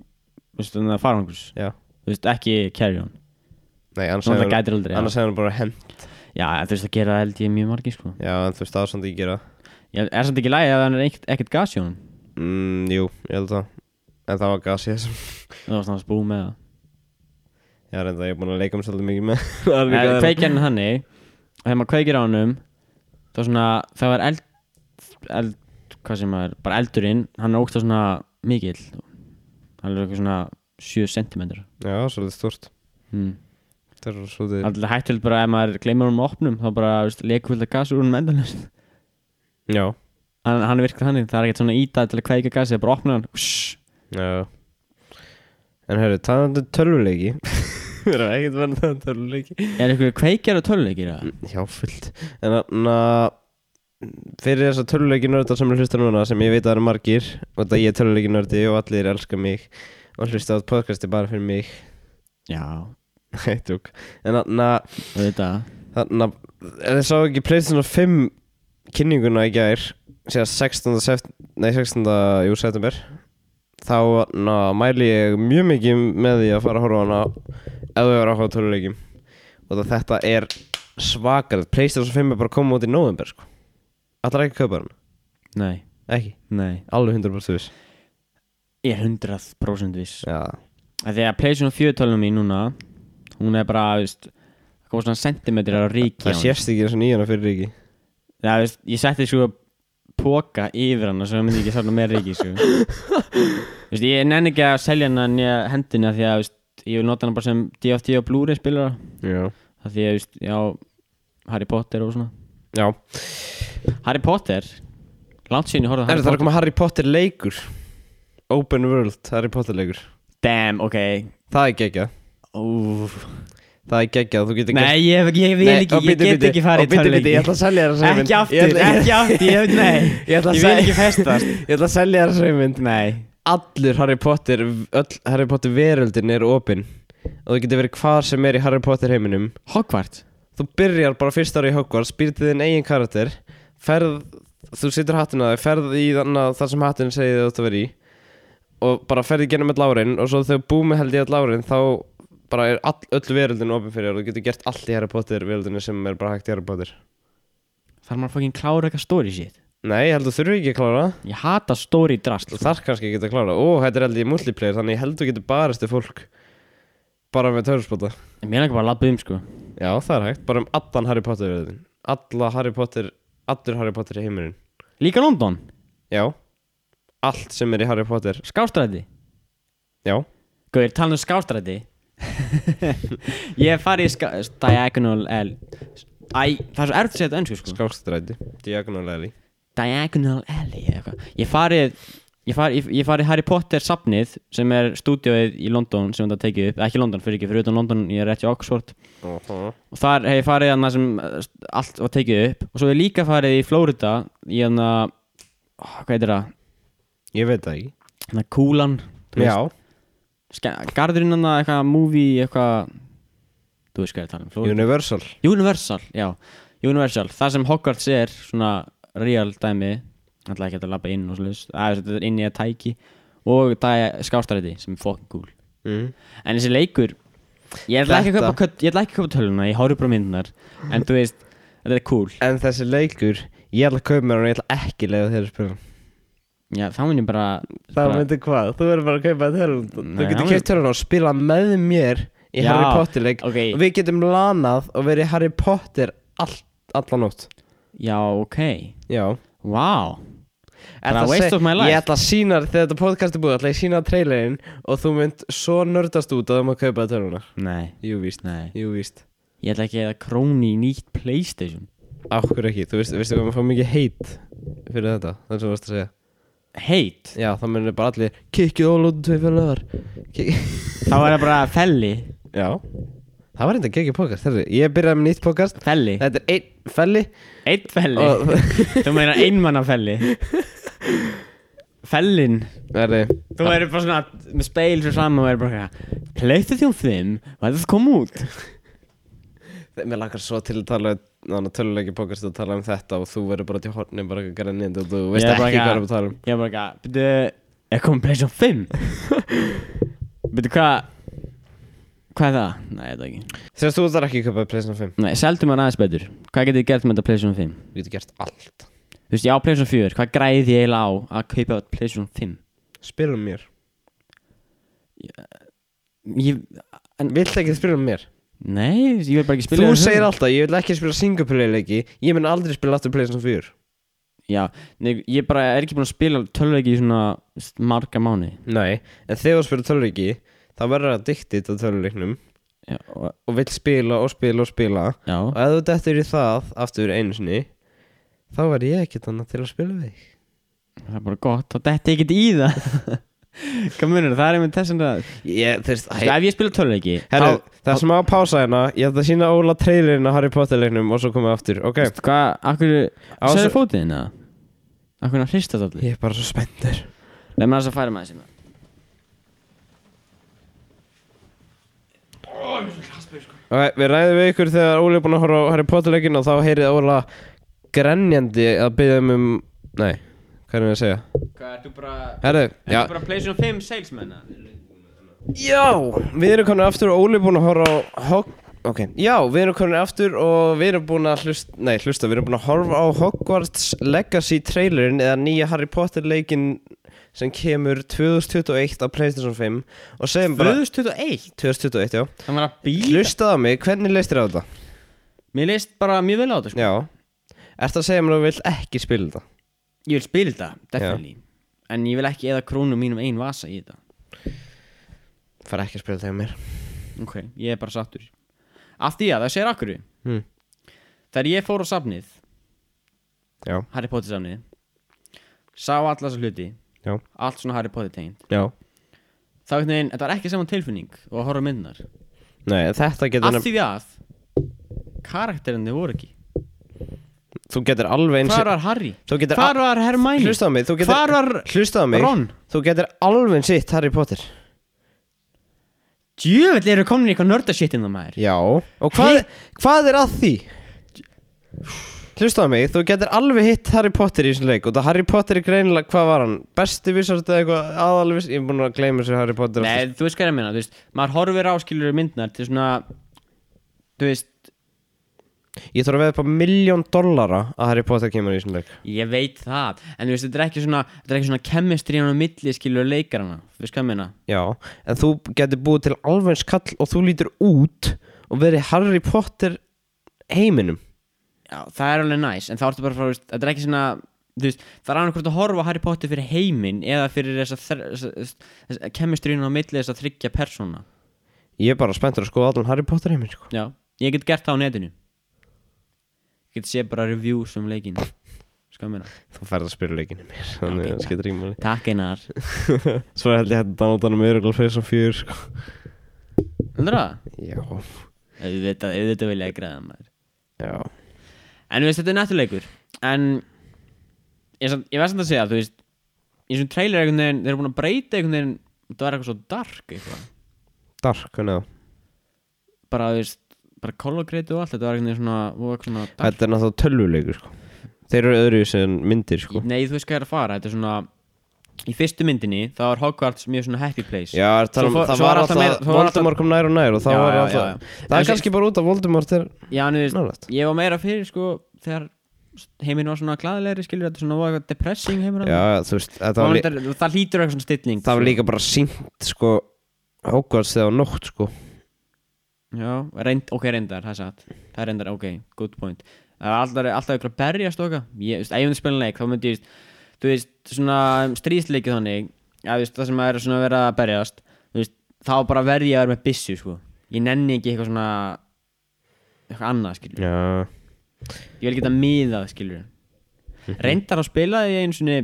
S3: Vistu, þannig að farangus
S2: Já.
S3: Þú veist, ekki carry on
S2: Nei, annars
S3: Svona það
S2: hefði hann,
S3: gætir aldrei
S2: annars hefði hann bara hent
S3: Já, þú veist, það gera það held ég mjög margi, sko
S2: Já, en þú veist það er samt ekki gera
S3: Ég er samt ekki lægi að hann er ekkert, ekkert gas í honum
S2: mm, Jú, ég held það En það var gas í þessum
S3: Það var svona að spú með
S2: Já, reynda, ég er búin að leika um svolítið mikið með
S3: það En kveikjarinn hannig Þegar maður kveikir á honum Þá svona, það var eld, eld Hvað sem maður, bara eldurinn Hann er ógst svona mikill Hann er eitthvað svona 7 cm
S2: Já, svolítið stort
S3: hmm.
S2: Mm. Það er svolítið
S3: Alltaf hættilegt bara ef maður gleymur honum að opnum Þá bara, þú veist, leikvölda gas úr honum endanlega
S2: Já,
S3: hann, hann virkar þannig, það er ekkert svona ítað til að kveika gasið, bara opna hann Shhh.
S2: já En herru, talandi um tölvuleiki Við erum ekkert verið að tala um tölvuleiki
S3: er eitthvað kveikjar og töluleikir eða?
S2: Já, fullt En þannig að Fyrir þess að tölvuleiki nördar sem er hlusta núna sem ég veit að það eru margir og þetta ég er tölvuleiki nördi og allir elska mig og hlusta á podcasti bara fyrir mig
S3: já,
S2: Nei, tjók En þannig að
S3: auðvitað
S2: Þannig að eh, þið sá ekki Playstation 5 kynninguna í gær síðan 16. Sept, nei, 16. Jú, september þá na, mæli ég mjög mikið með því að fara að horfa á hana ef þau eru áhuga töluleikjum og það þetta er svakarð Playstation 5 er bara að koma út í november sko. allar ekki að kaupa hann
S3: nei,
S2: ekki,
S3: nei,
S2: alveg 100% viss
S3: ég er 100% viss
S2: já,
S3: að því að Playstation 4 tölunum mín núna hún er bara, þú veist það kom svona sentimetrar á ríki
S2: það sést ekki eins og nýjana fyrir ekki
S3: það, veist, ég setti sko póka yfir hana svo ég myndi ekki safna með ríki sko. Þú veist, ég nenni ekki að selja hana nýja hendina því að þú veist, ég vil nota hana bara sem DFT og Blu-ray spilara
S2: já,
S3: það því að, þú veist, já, Harry Potter og svona
S2: já.
S3: Harry Potter Langt síðan ég horfði á Harry
S2: Er, það er að
S3: Potter
S2: koma Harry Potter leikur open world Harry Potter leikur
S3: Damn, ok
S2: það er geggjað
S3: Úf.
S2: Það er geggjað, þú getur
S3: Nei, ég, ég, ég vil ekki, ég get ekki farið í
S2: tölvleiki
S3: tölvleiki
S2: Ég ætla að selja þér þessa
S3: Ekki
S2: mynd
S3: aftur, ekki aftur, ég veit nei
S2: Ég ætla að
S3: Ég vil
S2: segja-
S3: ekki festast
S2: Ég ætla að selja þér þessa mynd
S3: Nei,
S2: Allur Harry Potter, öll Harry Potter veröldin er opinn Og þú getur verið hvar sem er í Harry Potter heiminum
S3: Hogwarts
S2: Þú byrjar bara fyrst ára í Hogwarts, býr til þinn eigin karakter Ferð þú setur hattina þig, ferð í þannig að það sem hattin segir þið átt að vera í og bara ferð í genum með lárin og svo þegar búmi held í all lárin þá bara er all, öll veröldin opin fyrir þér og þú getur gert allt í Harry Potter veröldinu sem er bara hægt í Harry Potter
S3: Þarf maður að fucking klára eitthvað story shit
S2: Nei, ég held þú þurfi ekki að klára það.
S3: Ég hata story drast
S2: Þú þarf kannski ekki að klára Ó, þetta er held ég multiplayer þannig ég held þú getur barist við fólk bara með törnspota
S3: En mér langar bara að labba um sko
S2: Já, það er hægt, bara um allan Harry Potter veröldin Alla Harry Potter, allur Harry Potter heimurinn
S3: Líka London,
S2: Já, allt sem er í Harry Potter
S3: skástræti
S2: Já,
S3: Gauðir, tala um skástræti Ég fari í ská... Diagonal L Æ, það er svo erft að segja þetta önsku sko
S2: skákstræti Diagonal Alley
S3: Diagonal Alley eða eitthvað Ég farið Ég farið ég, ég fari í Harry Potter safnið sem er stúdíóið í London sem þetta tekið upp, ekki London fyrir ekki, fyrir utan London ég er rétt í Oxford og þar hef ég farið hann sem eh, allt var tekið upp og svo hef ég líka farið í Florida í hann að, hvað heitir það,
S2: Ég veit það ekki
S3: hann að kúlan þú veist,
S2: Já,
S3: ske- Garðurinn hann að eitthvað movie eitthvað Þú veist hvað ég er að tala um Florida.
S2: Universal
S3: Universal, já Universal, það sem Hogwarts er svona real dæmi Alltaf ekki hægt að labba inn og slúðis Þetta er inn í að tæki Og það er skástaræti sem er fucking cool
S2: mm.
S3: En þessi leikur Ég ætla ekki að
S2: Þetta-
S3: kaupa, kött- ég ætla ekki að kaupa töluna Ég horf bara á myndunar En þú veist, þetta er cool
S2: En þessi leikur, ég ætla að kaupa mér hann og ég ætla ekki leiða þér að spila
S3: Já, þá mun ég bara
S2: Það
S3: bara-
S2: myndi hvað, þú verður bara að kaupa þér Þú
S3: Nei, hann
S2: getur keitt þér og spila með mér í
S3: Já,
S2: Harry Potter leik
S3: ok.
S2: og við getum lanað og verið í Harry Potter all, allan nótt
S3: Já, ok
S2: Já
S3: Vá Bara
S2: Ætla að
S3: waste
S2: seg-
S3: of my life.
S2: Ég ætla að sína þér þegar þetta podcast er búið ætla ég að sína þér trailerinn og þú mynd svo nördast út að þú maður kaupa þér hana
S3: Nei,
S2: Jú víst,
S3: nei
S2: jú víst
S3: Ég ætla ekki að króni í nýtt Playstation
S2: Akkur ekki, þú veist, veistu hvað maður fá mikið heit fyrir þetta, þannig sem þú varst að segja
S3: Hate
S2: Já, þá munir bara allir kikkið ólóðum tvei fyrir löðar
S3: Þá er það bara felli
S2: Já Það var enda geggið podcast, þetta ég byrjaði með nýtt podcast
S3: Felli
S2: Þetta er einn felli
S3: Einn felli
S2: Og-
S3: Þú meina einmanna felli Fellin
S2: Verði,
S3: Þú verður bara svona með speil fyrir saman og verður bara eitthvað Pleitu þjón þim og þetta kom út
S2: mér langar svo til að tala um- Þannig að töluleiki podcast að tala um þetta og þú verður bara til hornin bara að gera nýnd og þú veist
S3: Ég er bara
S2: ekki hvað
S3: ekki
S2: er
S3: að-
S2: að tala um
S3: Ég er bara eitthvað Byrju, er komið Pleitu þjón þim? Byrju, hvað Hvað er það? Nei, þetta ekki
S2: Sérst þú þar ekki að kaupa Playstation 5
S3: Nei, seldum hann aðeins betur Hvað getið þið gert með þetta Pleitu þjón þim?
S2: Þú getur gert allt
S3: Þú veist, ég á Pleitu þjón 4 Hvað græði ég eiginlega á að kaupa Pleitu þjón þim?
S2: Spyrum um mér
S3: Ég,
S2: Vilt ekki spyrum mér
S3: nei, ég vil bara ekki spila
S2: Þú
S3: þér
S2: segir
S3: höfund.
S2: alltaf, ég vil ekki spila singleplay leiki Ég mun aldrei spila aftur Playstation 4
S3: Já, nei, ég bara er ekki búin að spila tölvleiki í svona marga mánu
S2: Nei, en þegar þú spila töluleiki þá verður það addicted á töluleiknum
S3: Já, og,
S2: og vill spila og spila og spila
S3: já.
S2: og ef þú dettur í það aftur einu sinni þá verð ég ekkert annað til að spila við þig
S3: það er bara gott og þetta er ekkert í það Hvað munur, það er einmitt þess að
S2: Ég, þeirst,
S3: Sko, ef ég spila tölvleiki
S2: Herru, það er smá pása hérna Ég ætla að sína Óla trailerinn á Harry Potter leiknum og svo komum við aftur Ok,
S3: veist hvað, akkur
S2: Á,
S3: Sæður
S2: svo-
S3: fótið þinn að Akkur hann hrista það allir
S2: ég er bara svo spenntur
S3: Leif maður þess að færa maður sinna
S2: Ok, við ræðum við ykkur þegar Óli er búinn að horfa á Harry Potter leikinn og þá heyrið Óla grenjandi að byggja um um Nei, hvað er það að segja?
S3: Hvað, ertu bara
S2: Herru, já
S3: bara Playstation 5 salesmenna?
S2: Já, við erum komin aftur og Óli er búinn að horfa á Hog... Ok, já, við erum komin aftur og við erum búinn að hlusta Nei, hlusta, við erum búinn að horfa á Hogwarts Legacy trailerinn eða nýja Harry Potter leikinn sem kemur 2021 á Playstation 5 og segjum bara
S3: 2021
S2: 2021, já
S3: Það var að býta
S2: Hlustaðu á mig, hvernig leist þér á þetta?
S3: Mér leist bara mjög vel á þetta sko
S2: Já Ertu að segja mér að þú vilt ekki spila þetta?
S3: Ég vil spila þetta, definitely En ég vil ekki eða krónum mínum ein vasa í þetta
S2: fara ekki að spila þegar mér
S3: Ok, ég er bara sattur Af því að það sér akkur
S2: hmm.
S3: Þegar ég fór á safnið,
S2: Já,
S3: Harry Potter safnið Sá alla þessa hluti
S2: já,
S3: Allt svona Harry Potter tegnd
S2: já
S3: Þá einhvern veginn, þetta var ekki saman tilfinning Og að horfa á myndunar
S2: Nei, þetta getur
S3: Af
S2: nefn
S3: því að Karakterinni voru ekki
S2: Þú getur alveg eins
S3: Hvar var Harry?
S2: Þú getur
S3: Hvar var Hermione?
S2: Hlustaðu á mig, þú getur
S3: Hvar var-
S2: Hlustaðu á mig
S3: Ron?
S2: Þú getur alveg eins sitt Harry Potter
S3: Djöfell eru komin í eitthvað nörda shit inn á maður
S2: Já Og hvað, hvað er að því? hlustaðu á mig, þú getur alveg hitt Harry Potter í þessum leik og það Harry Potter er greinilega, hvað var hann? Besti vissart eða eitthvað aðalvis Ég er búin að gleyma sér Harry Potter aftur.
S3: Nei, þú veist hvað ég er að minna, þú veist, maður horfir áskilur myndnar til svona, þú veist,
S2: Ég þarf að veða upp á miljón dollara að Harry Potter kemur í þessum leik
S3: ég veit það, en þú veist, þetta er ekki svona, þetta er ekki svona kemistri hann á milli skilur leikarana, þú veist hvað ég minna,
S2: Já, en þú getur búið til alveg eins kall og þú lítur út og verið Harry Potter heiminum
S3: já, það er alveg næs, en þá ertu bara frá, þú veist, þetta er ekki svona, þú veist, það er annað hvort að horfa á Harry Potter fyrir heiminn eða fyrir þessa, þr- þessa, þessa kemistri hann á milli þessa þryggja persóna,
S2: Ég er bara spenntur að skoða allan Harry Potter heiminn sko.
S3: já, ég get gert það á netinu, ég get sé bara reviews um leikin, sko ég minna,
S2: Þú ferð að spyrja leikinu mér Þannig að það skiptir ekki máli
S3: takk einar,
S2: Svo held ég hætti Downloadanum Öruglega fyrir sem fjör sko.
S3: heldur það?
S2: Já,
S3: Auðvitað, auðvitað vilja ég græða maður.
S2: já
S3: En þú veist, þetta er nættuleikur En Ég, samt, ég veist samt að segja, þú veist Í þessum trailer einhvern veginn, þeir eru búin að breyta einhvern veginn Það var eitthvað svo dark eitthvað
S2: Dark, hvernig það?
S3: Bara, þú veist, bara kolokreitu og allt Þetta var einhvern veginn svona, voru eitthvað svona dark
S2: Þetta er náttúrulega tölvuleikur sko. Þeir eru öðru sem myndir sko.
S3: Nei, þú veist hvað er að fara, þetta er svona Í fyrstu myndinni, þá var Hogwarts mjög svona happy place
S2: Já, er að tala um-
S3: Svo fó-
S2: það
S3: svo var
S2: var
S3: alltaf
S2: alltaf
S3: meira- svo var alltaf-
S2: Voldemort kom nær og nær og það
S3: Já,
S2: var
S3: já,
S2: alltaf
S3: já, já.
S2: Það
S3: En
S2: er
S3: svo-
S2: kannski bara út af Voldemort er
S3: Já, en þú veist,
S2: nálægt
S3: ég var meira fyrir, sko Þegar heiminn var svona glæðilegri, skilur Þetta svona var eitthvað depressing heiminn
S2: Já, þú veist, þetta
S3: það,
S2: var, lí-
S3: var, það, það hlýtur eitthvað svona stilling sko.
S2: það var líka bara sínt sko Hogwarts þegar á nótt sko
S3: Já, reynd, ok, reyndar, það er satt Það er reyndar, ok, good point Það er alltaf, alltaf ykkur að berjast okkar Ég, þú veist, ef ég myndi spila leik, þá myndi ég Þú veist, svona stríðsleiki þannig Já, þú veist, það sem er svona að vera að berjast Þú veist, þá bara verði ég að vera með byssu, sko Ég nenni ekki eitthvað svona Eitthvað annað, skilur
S2: Já,
S3: Ég vil geta miðað, skilur Reyndar að spila því einu svona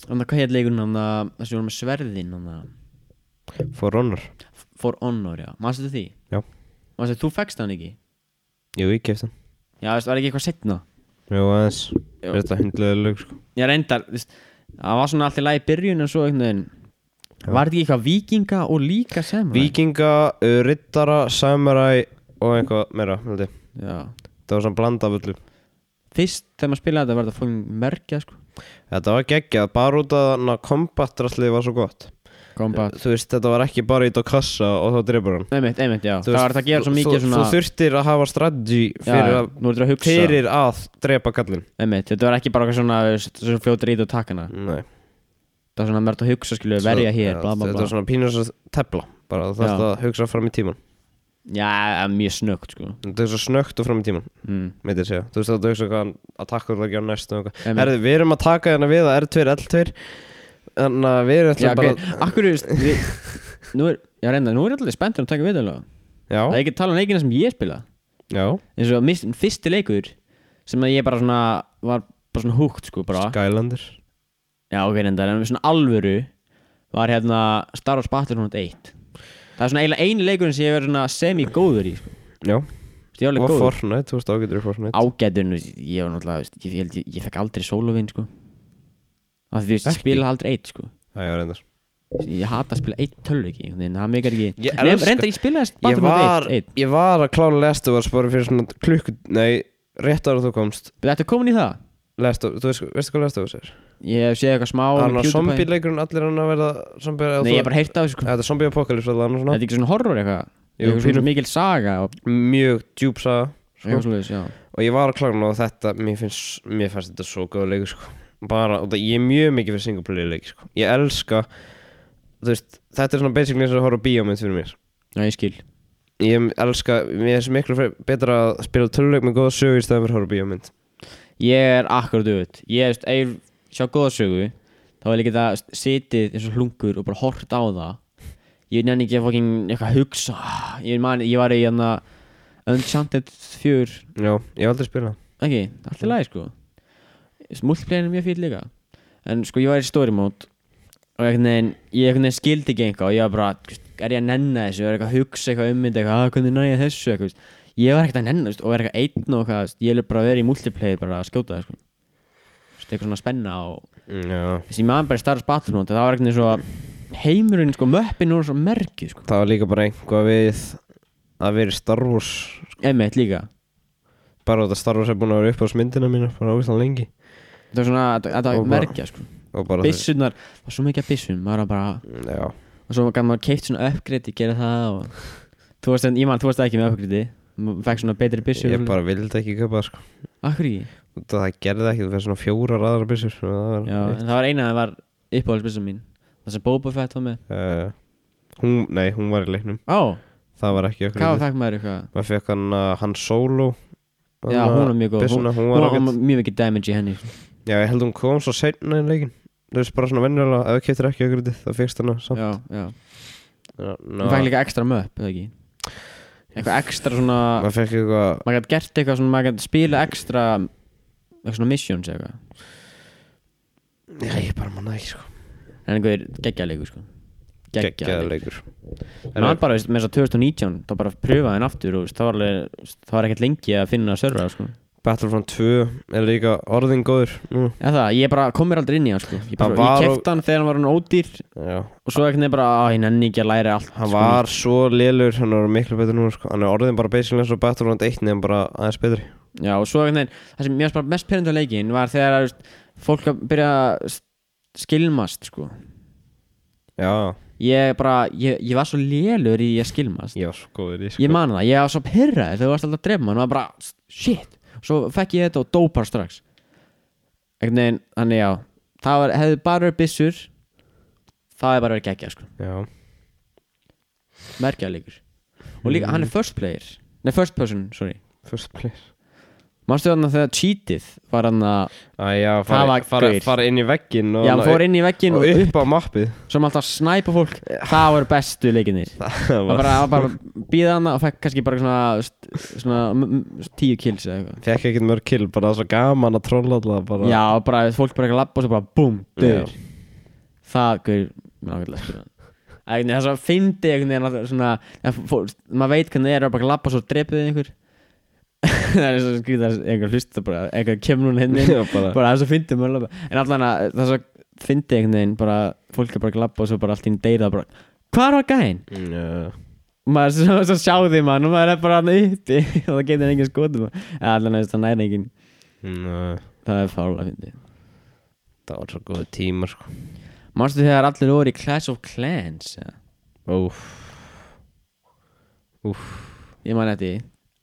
S3: Þannig hvað hér leikurinn, þannig að þessi voru með sverðin, þannig
S2: for honor
S3: að For Honor, já, mannstu því?
S2: Já,
S3: Mannstu, þú fekkst hann ekki?
S2: ég ekki eftir
S3: Já, þú veist, var ekki eitthvað setna
S2: Jú, aðeins
S3: Já.
S2: Þetta hundlega lög sko
S3: Ég reyndar, þú veist, það var svona allt í lagi í byrjun en svo einhvern veginn Var þetta ekki eitthvað vikinga og líka sem
S2: Víkinga, uh, rittara, samurai og eitthvað meira held ég.
S3: Já
S2: Þetta var svona bland af öllu
S3: Fyrst þegar maður spilaði þetta var þetta fóðum merkja sko
S2: Þetta var geggjað, bara út af þannig að kombatraslið var svo gott
S3: Kombat
S2: Þú veist, þetta var ekki bara ít á kassa og þá drefur hann
S3: Einmitt, einmitt, já
S2: Þú
S3: Það var
S2: veist,
S3: þetta að gera svo
S2: þú-
S3: mikið
S2: þú-
S3: svona
S2: Þú þurftir að hafa strategy fyrir,
S3: já,
S2: að,
S3: Nú ertu að hugsa
S2: fyrir að drepa kallin
S3: Einmitt, þetta var ekki bara eitthvað svona þú veist, Svona fljótur ít og takkana
S2: Nei
S3: Það var svona mörgt að hugsa skilu Verja
S2: Mm. Já,
S3: hér, bla bla
S2: Þetta
S3: bla
S2: var svona pínur að tepla Bara þú þarfst
S3: Já.
S2: að hugsa fram í tíman
S3: Já, það er mjög snöggt sko
S2: Þetta er svo snögt og fram í tíman
S3: mm.
S2: Meitir segja Þú veist að þú hugsa hvaðan að takka þú ekki á næst
S3: Einmitt.
S2: Herði, við erum að taka hérna við að R2 L2 Þannig að við erum
S3: Já,
S2: alltaf bara
S3: ok, akkur er við, Nú er, já reynda, nú er allir spenntur að taka viðalega Það er
S2: Já,
S3: ekki að tala um leikina sem ég spila
S2: já
S3: eins og mis- fyrsti leikur sem að ég bara svona var bara svona húgt sko bara
S2: Skylander
S3: já ok reyndar en svona alvöru var hérna Star Wars Battlefront 1 það er svona eiginlega eini leikurinn sem ég verið svona semi-góður í sko
S2: Já
S3: Þú veist, ég var alveg
S2: Og
S3: góður
S2: Fortnite, þú veist ágætur í Fortnite
S3: ágætun ég var náttúrulega veist, ég, ég, held ég, ég fekk aldrei sólovinn sko af því þú veist ég
S2: Ekki?
S3: spila aldrei eitt sko
S2: Það er reyndar
S3: ég hata að spila eitt tölviki þannig að það meikar ekki
S2: Ég
S3: Nei,
S2: elska-
S3: reyndar ég spilaði
S2: ég var,
S3: Battlefront 1, 1.
S2: ég var að klára Last of Us bara fyrir svona klukk nei, rétt ára þú komst
S3: Þetta er komin í það
S2: Last of, þú veist, veistu hvað Last of Us er?
S3: Ég hef séð eitthvað smá
S2: hann
S3: með
S2: er
S3: PewDiePie.
S2: zombie leikurinn, allir hann að verða zombie eða
S3: Nei,
S2: þú-
S3: ég hef bara heyrt af þessu sko.
S2: Þetta er zombie apocalypse allan og
S3: Þetta
S2: svona
S3: er ekki svona horror eitthvað
S2: Jú,
S3: Jú,
S2: pínu.
S3: svona mikil saga og
S2: mjög djúb saga
S3: eitthvað
S2: sko.
S3: svoleiðis, já
S2: og ég var að klára hann og þetta mér finnst, mér finnst þetta svo góð leikur sko. bara, og það, ég er mjög mikið fyrir single player leik sko. ég elska þú veist, þetta er svona basically eins og að horfa á bíómynd fyrir mér
S3: Já, ég skil
S2: ég elska, mér finnst miklu fre- betra að spila töluleik með góða sögu í stæðan fyrir að horfa á bíómynd
S3: Ég er akkurat auðvitað Ég veist, ef ég sjá góða sögu Þá vil ég geta sitið eins og hlungur og bara hort á það Ég nenni ekki að fókin eitthvað hugsa Ég man, ég var í hérna Unchanted 4
S2: já, ég hef aldrei spilað
S3: Ekki, allt í lagi sko Multiplayer er mjög fyrir líka En sko, ég var í story mode Og einhvern veginn, ég einhvern veginn skildi ekki einhvað Og ég var bara, þú veist, er ég að nenna þessu Er eitthvað að hugsa eitthvað um þetta Eitthvað, að hvernig næ ég þessu eitthvað, þú veist. Ég var ekkert að nenna, þú veist, og er eitthvað einn og eitthvað þú veist. Ég vil bara vera í multiplayer bara að skjóta það sko. Þú veist, Eitthvað svona spenna og
S2: Mm, já
S3: Þessi maður bara starf spattur nú Það var einhvern veginn svo Heimurinn, sko, möppin og svo merkið sko.
S2: Það var líka bara einhvað við að vera í Star Wars
S3: Einmitt líka
S2: bara þetta starfa sem búin að vera upp á myndina mína bara ógæslan lengi
S3: Það er svona, þetta
S2: Og
S3: er
S2: bara-
S3: merkja sko
S2: og bara
S3: Bissunar, það var svo mikið af bissum maður var bara,
S2: þess, já,
S3: og svo gaf maður keipt svona upgrade, ég gera það og þú varst, hérna, ég man, þú varst ekki með upgrade maður fekk svona betri bissu
S2: ég bara vildi ekki köpa það sko
S3: Akkur ekki?
S2: Út af það gerði ekki, þú fyrir svona fjórar aðra byssur og það var-
S3: Já, en það var eina að það var uppáhaldsbissa mín Það sem Boba Fett var með
S2: Eh, hún, nei, hún var í leiknum
S3: Á,
S2: það var ekki okkur
S3: hvað var fæk maður eitthvað?
S2: maður fekk hann uh, hann solo
S3: Já, hún var mjög góð Hún,
S2: byssuna, hún,
S3: hún
S2: var
S3: var
S2: ágætt
S3: mjög mikið damage í henni
S2: já, ég held hún kom svo seinna í leikin þú veist bara svona venjulega ef þú keftir ekki okkur það fyrst hana samt
S3: Já, já
S2: Já, ná,
S3: Hún fæk líka ekstra möpp, eða ekki? Eitthvað ekstra svona
S2: maður fekk eitthvað
S3: Maður gæti gert eitthvað svona, maður gæti spila ekstra Eitthvað svona missions eða eitthvað
S2: já, ég bara manna ekki sko
S3: En einhver geggjaleikur sko Geggjaleikur
S2: geggjaða leikur
S3: En hann bara, veist, með þess að 2019 Þá bara pröfaði hann aftur og veist, það var alveg veist, Það var ekkert lengi að finna að servera sko
S2: Battlefront 2 er líka orðin góður nú.
S3: Eða það, ég bara kom mér aldrei inn í hann sko Ég, bara,
S2: Hann var
S3: ég
S2: og-
S3: kefti hann þegar hann var hann ódýr
S2: já
S3: Og svo ekkert nefnir bara, á, ég nenni ekki að læra allt
S2: hann
S3: sko.
S2: var svo lélur hann var miklu betur núna sko hann er orðin bara basically eins og Battlefront 1 nefn bara aðeins betri
S3: Já, og svo ekkert nefnir, það sem mér varst bara mest pyrrandi á leikin Var þegar þú veist, fólk að byrja að s- skilmast sko
S2: já
S3: Ég bara, ég, ég var svo lélur í að skilmast
S2: ég var svo góður í sko
S3: Ég man það, ég var svo pyrraði þegar þú varst alltaf að drefa mann Og var bara, shit, svo fekk ég þetta og dó bara strax Ekkert nefnir, þannig já Það var, hefði bara verið byssur Það hefði bara verið geggja sko
S2: já
S3: merkjalegur og líka hann er first player nei first person, sorry
S2: first place
S3: mannstu þarna þegar cheatið var hann að
S2: að já
S3: Það
S2: fara,
S3: var
S2: fara,
S3: gaur.
S2: fara inn í veggin og
S3: já, hann fór inn í veggin
S2: og
S3: og upp
S2: upp á mappið
S3: sem alltaf snæpa fólk það voru bestu leikinir
S2: það
S3: það bara, hann bara býða hann og fekk kannski bara svona, svona m- m- tíu kills eða eitthvað
S2: fekk ekkert mörg kill bara svo gaman að trolla alltaf bara
S3: já, og bara fólk bara eitthvað labba og svo bara búm, döður
S2: Já.
S3: það gaur mér ákveðlega spila Það er svo að fyndi einhvern veginn alltaf svona, ja, fólk, maður veit hvernig það er að bara lappa svo dreipið einhver það er svo skrítið að einhver hlusta bara einhver kemur núna henni
S2: Já, bara,
S3: bara það er svo fyndið maður labba en allan að það er svo fyndið einhvern veginn bara fólk er bara að labba og svo bara allt í einu deyra bara hvað var gæinn?
S2: Já.
S3: og maður svo, svo sjá því mann og maður er bara hann uppi og það getur engin skotum eða allan að það næri engin
S2: Njö.
S3: það er fárlega fyndið
S2: það var svo góð tíma sko
S3: mannstu þegar allir voru í Clash of Clans eða?
S2: óf
S3: ég man þetta í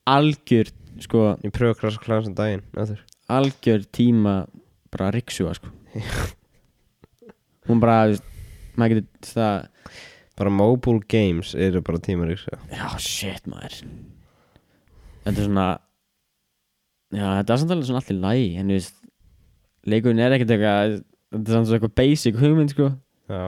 S3: algjör sko
S2: ég pröfa að krasa klæðan sem daginn eftir
S3: algjör tíma bara riksuga sko hún bara þú veist, maður getur það
S2: bara mobile games eru bara tímar í sig
S3: Já, shit maður Þetta er svona Já, þetta er samtalið svona allir lægi En þú veist Leikurinn er ekkert eitthvað Þetta er samt svona eitthvað basic hugmynd sko
S2: já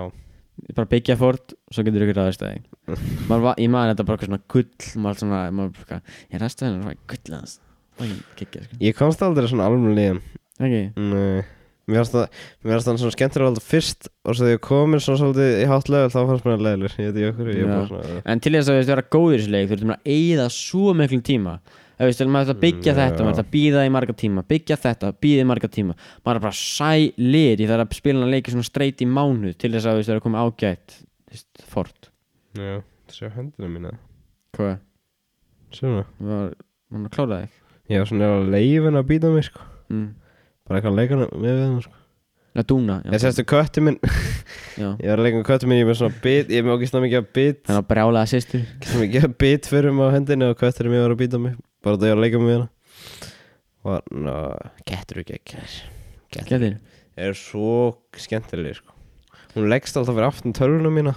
S3: Bara byggja fort Svo getur ykkur ráðist að þig Maður var, ég maður þetta bara eitthvað svona gull Maður svona, maður bara eitthvað, Ég ræstu hennar svona gull hans Það er kikja sko
S2: ég komst aldrei svona alveg
S3: Ekki?
S2: Nei Mér finnst það- mér finnst þannig svona skemmtilega alltaf fyrst og svo þegar ég komin svona svolítið í hátt level þá fannst mér að leilir, ég veit ekki okkur ég er bara
S3: Já.
S2: svona,
S3: En til þess að þú veist vera góður í þessu leik Þú veist maður að eyða svo miklum tíma Þú veist, maður þarf að byggja
S2: Mm,
S3: þetta,
S2: já.
S3: maður þarf að býða í marga tíma Byggja þetta, býða í marga tíma Maður er bara sælir Ég þarf að spila hann leiki svona streit í mánuð Til þess að þú veist vera að koma ágætt þú veist, Fort
S2: já, sjá hendina mína
S3: Hvað?
S2: svona,
S3: Var hann að klára þig?
S2: ég var svona að leifin að býta mig sko,
S3: Mm.
S2: bara eitthvað að leika hana- með við hann sko,
S3: Að dúna
S2: ég sérstu kötti minn
S3: já.
S2: ég var að leika með kötti minn, ég er með svona bit ég er með okkist það mikið að bit,
S3: Þannig að brjálega sýstur
S2: okkist það mikið að bit fyrir mig á hendinni og kötturinn mér var að býta mig bara það ég var að leika með hana var, ná, getur ekki ekki getur,
S3: Gæðir
S2: er svo skemmtileg sko. hún leggst alltaf fyrir aftan tölvuna mína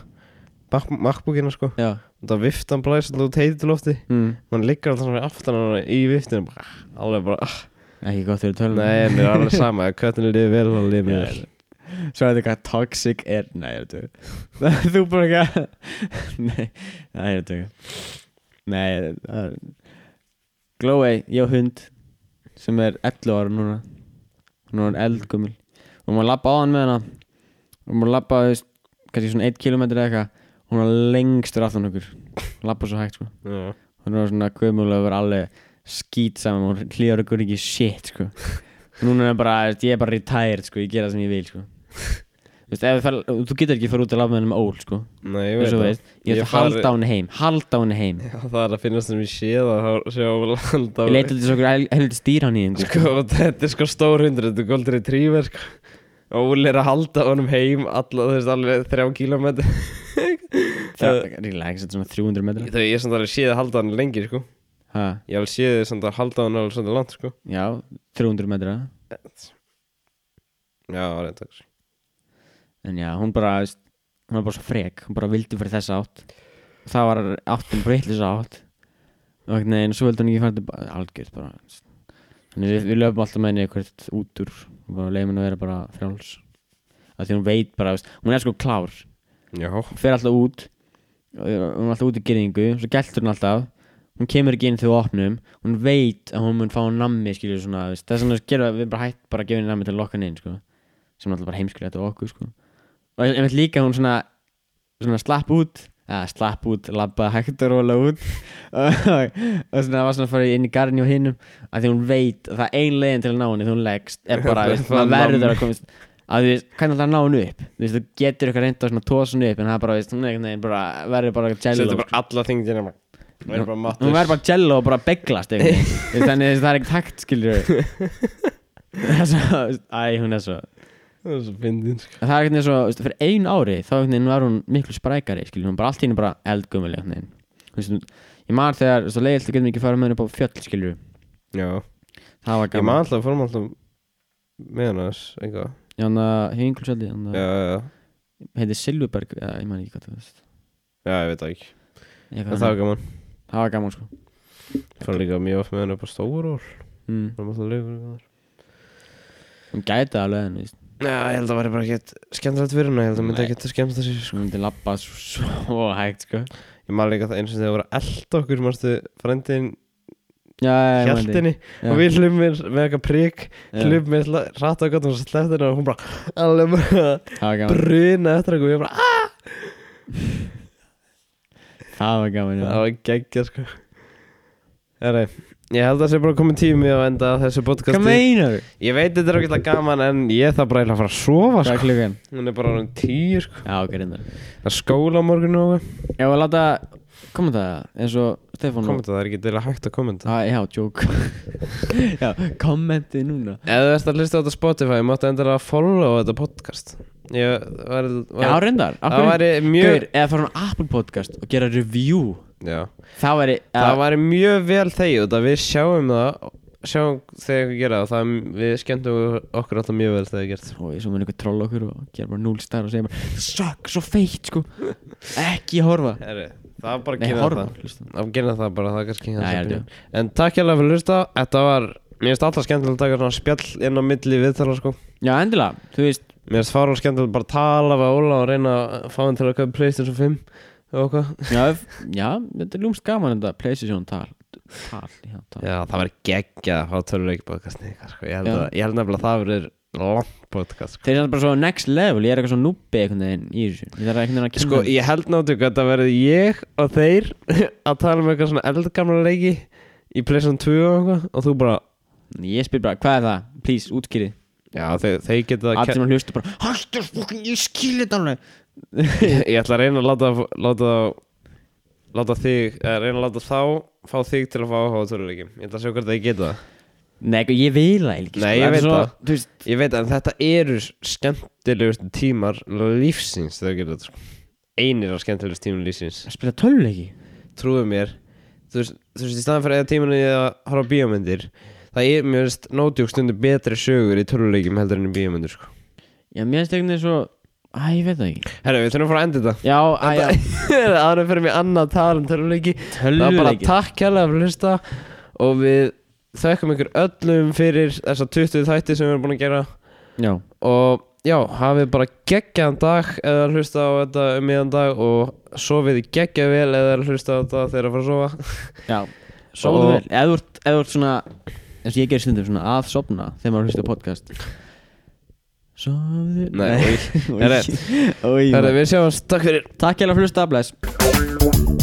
S2: bak- MacBookina sko
S3: Já
S2: og það viftan blæs alltaf út heiti til lofti
S3: mm.
S2: hún liggur alltaf fyrir aftan hana í viftinu bara, alveg bara ah.
S3: Ekki gott fyrir tölum
S2: nei, mér er alveg sama ef köttinu liði vel þá liði mér vel
S3: Svo er þetta eitthvað toxic er Nei, ég veit ekki Þú bara ekki Nei, nei, ég veit ekki Nei, það er Glowey, ég á hund sem er 11 ára núna Nú er hann eldgumil og maður lappa á hann með hana og maður lappa, þú veist, kannski svona 1 km eða eitthvað og hún er lengstur aftan okkur lappa svo hægt, sko
S2: Já.
S3: hún er svona gömulega og verið alveg skýt saman hún hlýjar okkur ekki shit sko núna er bara, þú veist, ég er bara retired sko, ég gera það sem ég vil sko Þú veist, ef við fer, þú getur ekki að fara út að lafa með henni með ól, sko
S2: Nei, ég veit
S3: Þú veist, ég ætla
S2: Ég
S3: að halda á
S2: fari-
S3: henni heim Halda á henni heim
S2: Já, það er að finnast sem ég sé það þá sjá landa
S3: Ég leita til þessu okkur hel- helviti stýr hann í einhver
S2: Sko, þetta er sko stór hundur, þetta er goldur í tríver sko. og Úli er að halda honum heim alla, þú veist, alveg þrjá kílómetri
S3: Ríklega, ekki setja svona 300 metra
S2: Þegar ég er samt alveg séð að halda hann lengi, sko
S3: ha,
S2: Ég alveg séð samt að halda hann alveg svona langt, sko
S3: Já, 300 metra
S2: Já, reynd takk
S3: En já, hún bara, veist, hún var bara svo frek Hún bara vildi fyrir þessa átt Það var áttin bara vitlis átt Og einhvern veginn, svo vildi hún ekki fara tilbaka Algjörð bara veist. Þannig við, við löfum alltaf með henni eitthvað út úr Og bara leiðum henni að vera bara frjáls Af Því hún veit bara, veist, hún er sko klár
S2: Já,
S3: hún fer alltaf út og hún er alltaf út í gerðingu svo gæltur hún alltaf hún kemur ekki inn þegar við opnum hún veit að hún mun fá nammi skilur svona þú veist. þess vegna gerum við bara hætt bara að gefa henni nammi til að lokka henni inn sko. sem er alltaf bara heimskulegt á okkur sko. og ein- einmitt líka hún svona, svona slapp út eða slapp út, labba hægt og róla út og og svona var svona að fara inn í garni og hinnum að því hún veit að það er ein leiðin til að ná henni þegar hún leggst er bara,
S2: Það er
S3: veist,
S2: bara
S3: maður verður
S2: nammi.
S3: að komast að þú veist, hvernig alltaf að ná henni upp þú veist, þú getur eitthvað reynda að svona tósa henni upp en það er bara, veist, hún er einhvern veginn bara verður bara jello
S2: Setur bara alla þingdina Hún er bara matlaus.
S3: hún verður bara jello og bara beglast einhvern veginn. Þú veist, þannig að það er ekkert hægt skilur við æ, hún er svo
S2: Það er svo fyndin, sko
S3: það er einhvern veginn svo, þú veist, fyrir einu ári þá einhvern veginn var hún miklu sprækari skilur, hún bara allt í henni bara eldgumul einhvern veginn Þú veist, hún- ég man þegar, þú veist, leiðilt að getum ekki að fara með henni upp á fjöll skilur,
S2: Já
S3: það var
S2: Ég maður
S3: gaman
S2: alltaf, fórum alltaf með hann aðeins, eitthvað
S3: ég hérna hann að hingulsöldi, hann
S2: Já,
S3: að
S2: já, já,
S3: heiti Silverberg hérna, eða ég man ekki hvað það veist
S2: já, ég veit það ekki
S3: Eitthvað
S2: En það
S3: þannig.
S2: var gaman
S3: það var gaman sko
S2: Fórum líka mjög oft með hann upp á stóról
S3: mm.
S2: Fórum alltaf leikur eitthvað
S3: hún gæti alveg en veist,
S2: Já, ég held að það væri bara ekkert skemmtilegt fyrir henni, ég held að það myndi
S3: Nei.
S2: ekkert að skemmta sér sko.
S3: hún myndi labba svo, svo hægt sko
S2: Ég maður líka það eins og þegar voru eld okkur, mannstu, frændin
S3: já, ég man
S2: hjæltinni
S3: þetta.
S2: og
S3: Já,
S2: við hlum með, með eitthvað prik,
S3: já,
S2: hlum með rætt og gott og sleppt henni og hún bara alveg bara
S3: það var gaman
S2: bruna eftir okkur og ég bara, "Ah!"
S3: það var gaman já.
S2: það var geggja sko. Herri, ég held að það sé bara komið tími á enda á þessu
S3: hvað
S2: podcasti.
S3: meinar þú?
S2: Ég veit þetta er okkur gaman en ég þarf bara eiginlega að fara að sofa
S3: hvað
S2: sko.
S3: er klukkan?
S2: Hún er bara orðin tíu sko.
S3: já, ok, reyndar
S2: Það er skóla á morgun og okkur.
S3: ég var að láta koma það eins og Stefán
S2: Kommenta, það er ekki til að hægt að kommenta.
S3: Ah, já, joke Já, kommenti núna
S2: Ef þú ert að hlusta á þetta á Spotify, máttu endilega að follow þetta podcast Ég var, var,
S3: Já, reyndar af
S2: Það
S3: hverju-
S2: væri mjög
S3: Gaur, eða fara á Apple podcast og gera review
S2: já,
S3: Það væri
S2: Það væri mjög vel þegið út að við sjáum það Sjáum þegar við gera það, það er- Við skemmtum okkur alltaf mjög vel þegar við gert
S3: og svo mun ykkur trolla okkur og gera bara núl star og segja bara "Það Suck, svo feitt sko Ekki horfa
S2: Herri, Það var bara að
S3: Nei,
S2: kynna
S3: horfa
S2: það
S3: hlusta.
S2: Það var að kynna það bara, það er kannski
S3: Nei,
S2: hans
S3: heldur.
S2: opinion. En takk hérlega fyrir að hlusta Þetta var, mér finnst alltaf skemmtilega að taka svona spjall inn á milli viðtala sko
S3: Já, endilega, þú veist
S2: Mér finnst fara skemmtilega bara að tala við Óla og reyna að fá hann til að köpa Playstation 5 og hvað
S3: Já, ef- já þetta er lúmst gaman þetta Playstation tal Tal, já, tal
S2: Já, það verður geggja að fá töluleik podcasti ykkar, sko. ég, held
S3: Já.
S2: að, ég held nefnilega að það verður langt podcast sko.
S3: Þeir eru bara svo next level, ég er eitthvað svo núbbi einhvern veginn í þessu Ég þarf einhvern veginn að kynna
S2: sko, ég held náttúrulega að það verður ég og þeir að tala um eitthvað svona eldgamla leiki í Playstation 2 og eitthvað og þú bara,
S3: ég... ég spyr bara, hvað er það? Please, útskýrið
S2: já, þeir, þeir geta
S3: Allt
S2: ken...
S3: sem að hlusta bara Haldur fokkin, ég skil þetta alveg
S2: ég ætla að reyna að láta, láta, láta þig, eh, reyna að láta þá fá þig til að fá áhuga á töluleikim ég ætla að sjá hvort þeir geta það
S3: Nei, ég vil það ekki sko.
S2: Nei, ég
S3: er
S2: veit
S3: svo-
S2: það.
S3: Þú veist,
S2: ég veit að þetta eru skemmtilegustu tímar lífsins þegar geta þetta sko. einir af skemmtilegustu tímar lífsins
S3: að spila töluleiki
S2: trúðu mér þú veist, þú veist, í staðan fyrir að tímanu ég að horfa á bíómyndir það er, mér veist, nótjók stundu betri sögur í töluleikjum heldur en í bíómyndir sko.
S3: Já, mér finnst einhvern veginn svo Æ, ég veit það ekki
S2: herru, við þurfum að fara að enda
S3: Já, æ, já,
S2: þetta aðra fyrir mig annað að tala um töluleiki það var bara
S3: töluleiki
S2: takk kærlega fyrir að hlusta og við þökkum ykkur öllum fyrir þessa 20 þætti sem við erum búin að gera
S3: Já,
S2: og já, hafið bara geggjaðan dag eða hlusta á þetta um miðan dag og sofið geggjað vel eða hlusta á þetta þegar að fara að sofa
S3: já Sofðu
S2: Og-
S3: vel Ef þú ert- ef þú ert svona eins og ég gerir stundum svona að sofna þegar maður hlusta á podcast Sofðu
S2: Nei,
S3: Oi.
S2: herri,
S3: Oi,
S2: herri,
S3: maður.
S2: við sjáumst, takk fyrir
S3: Takk hjá að hlusta, bless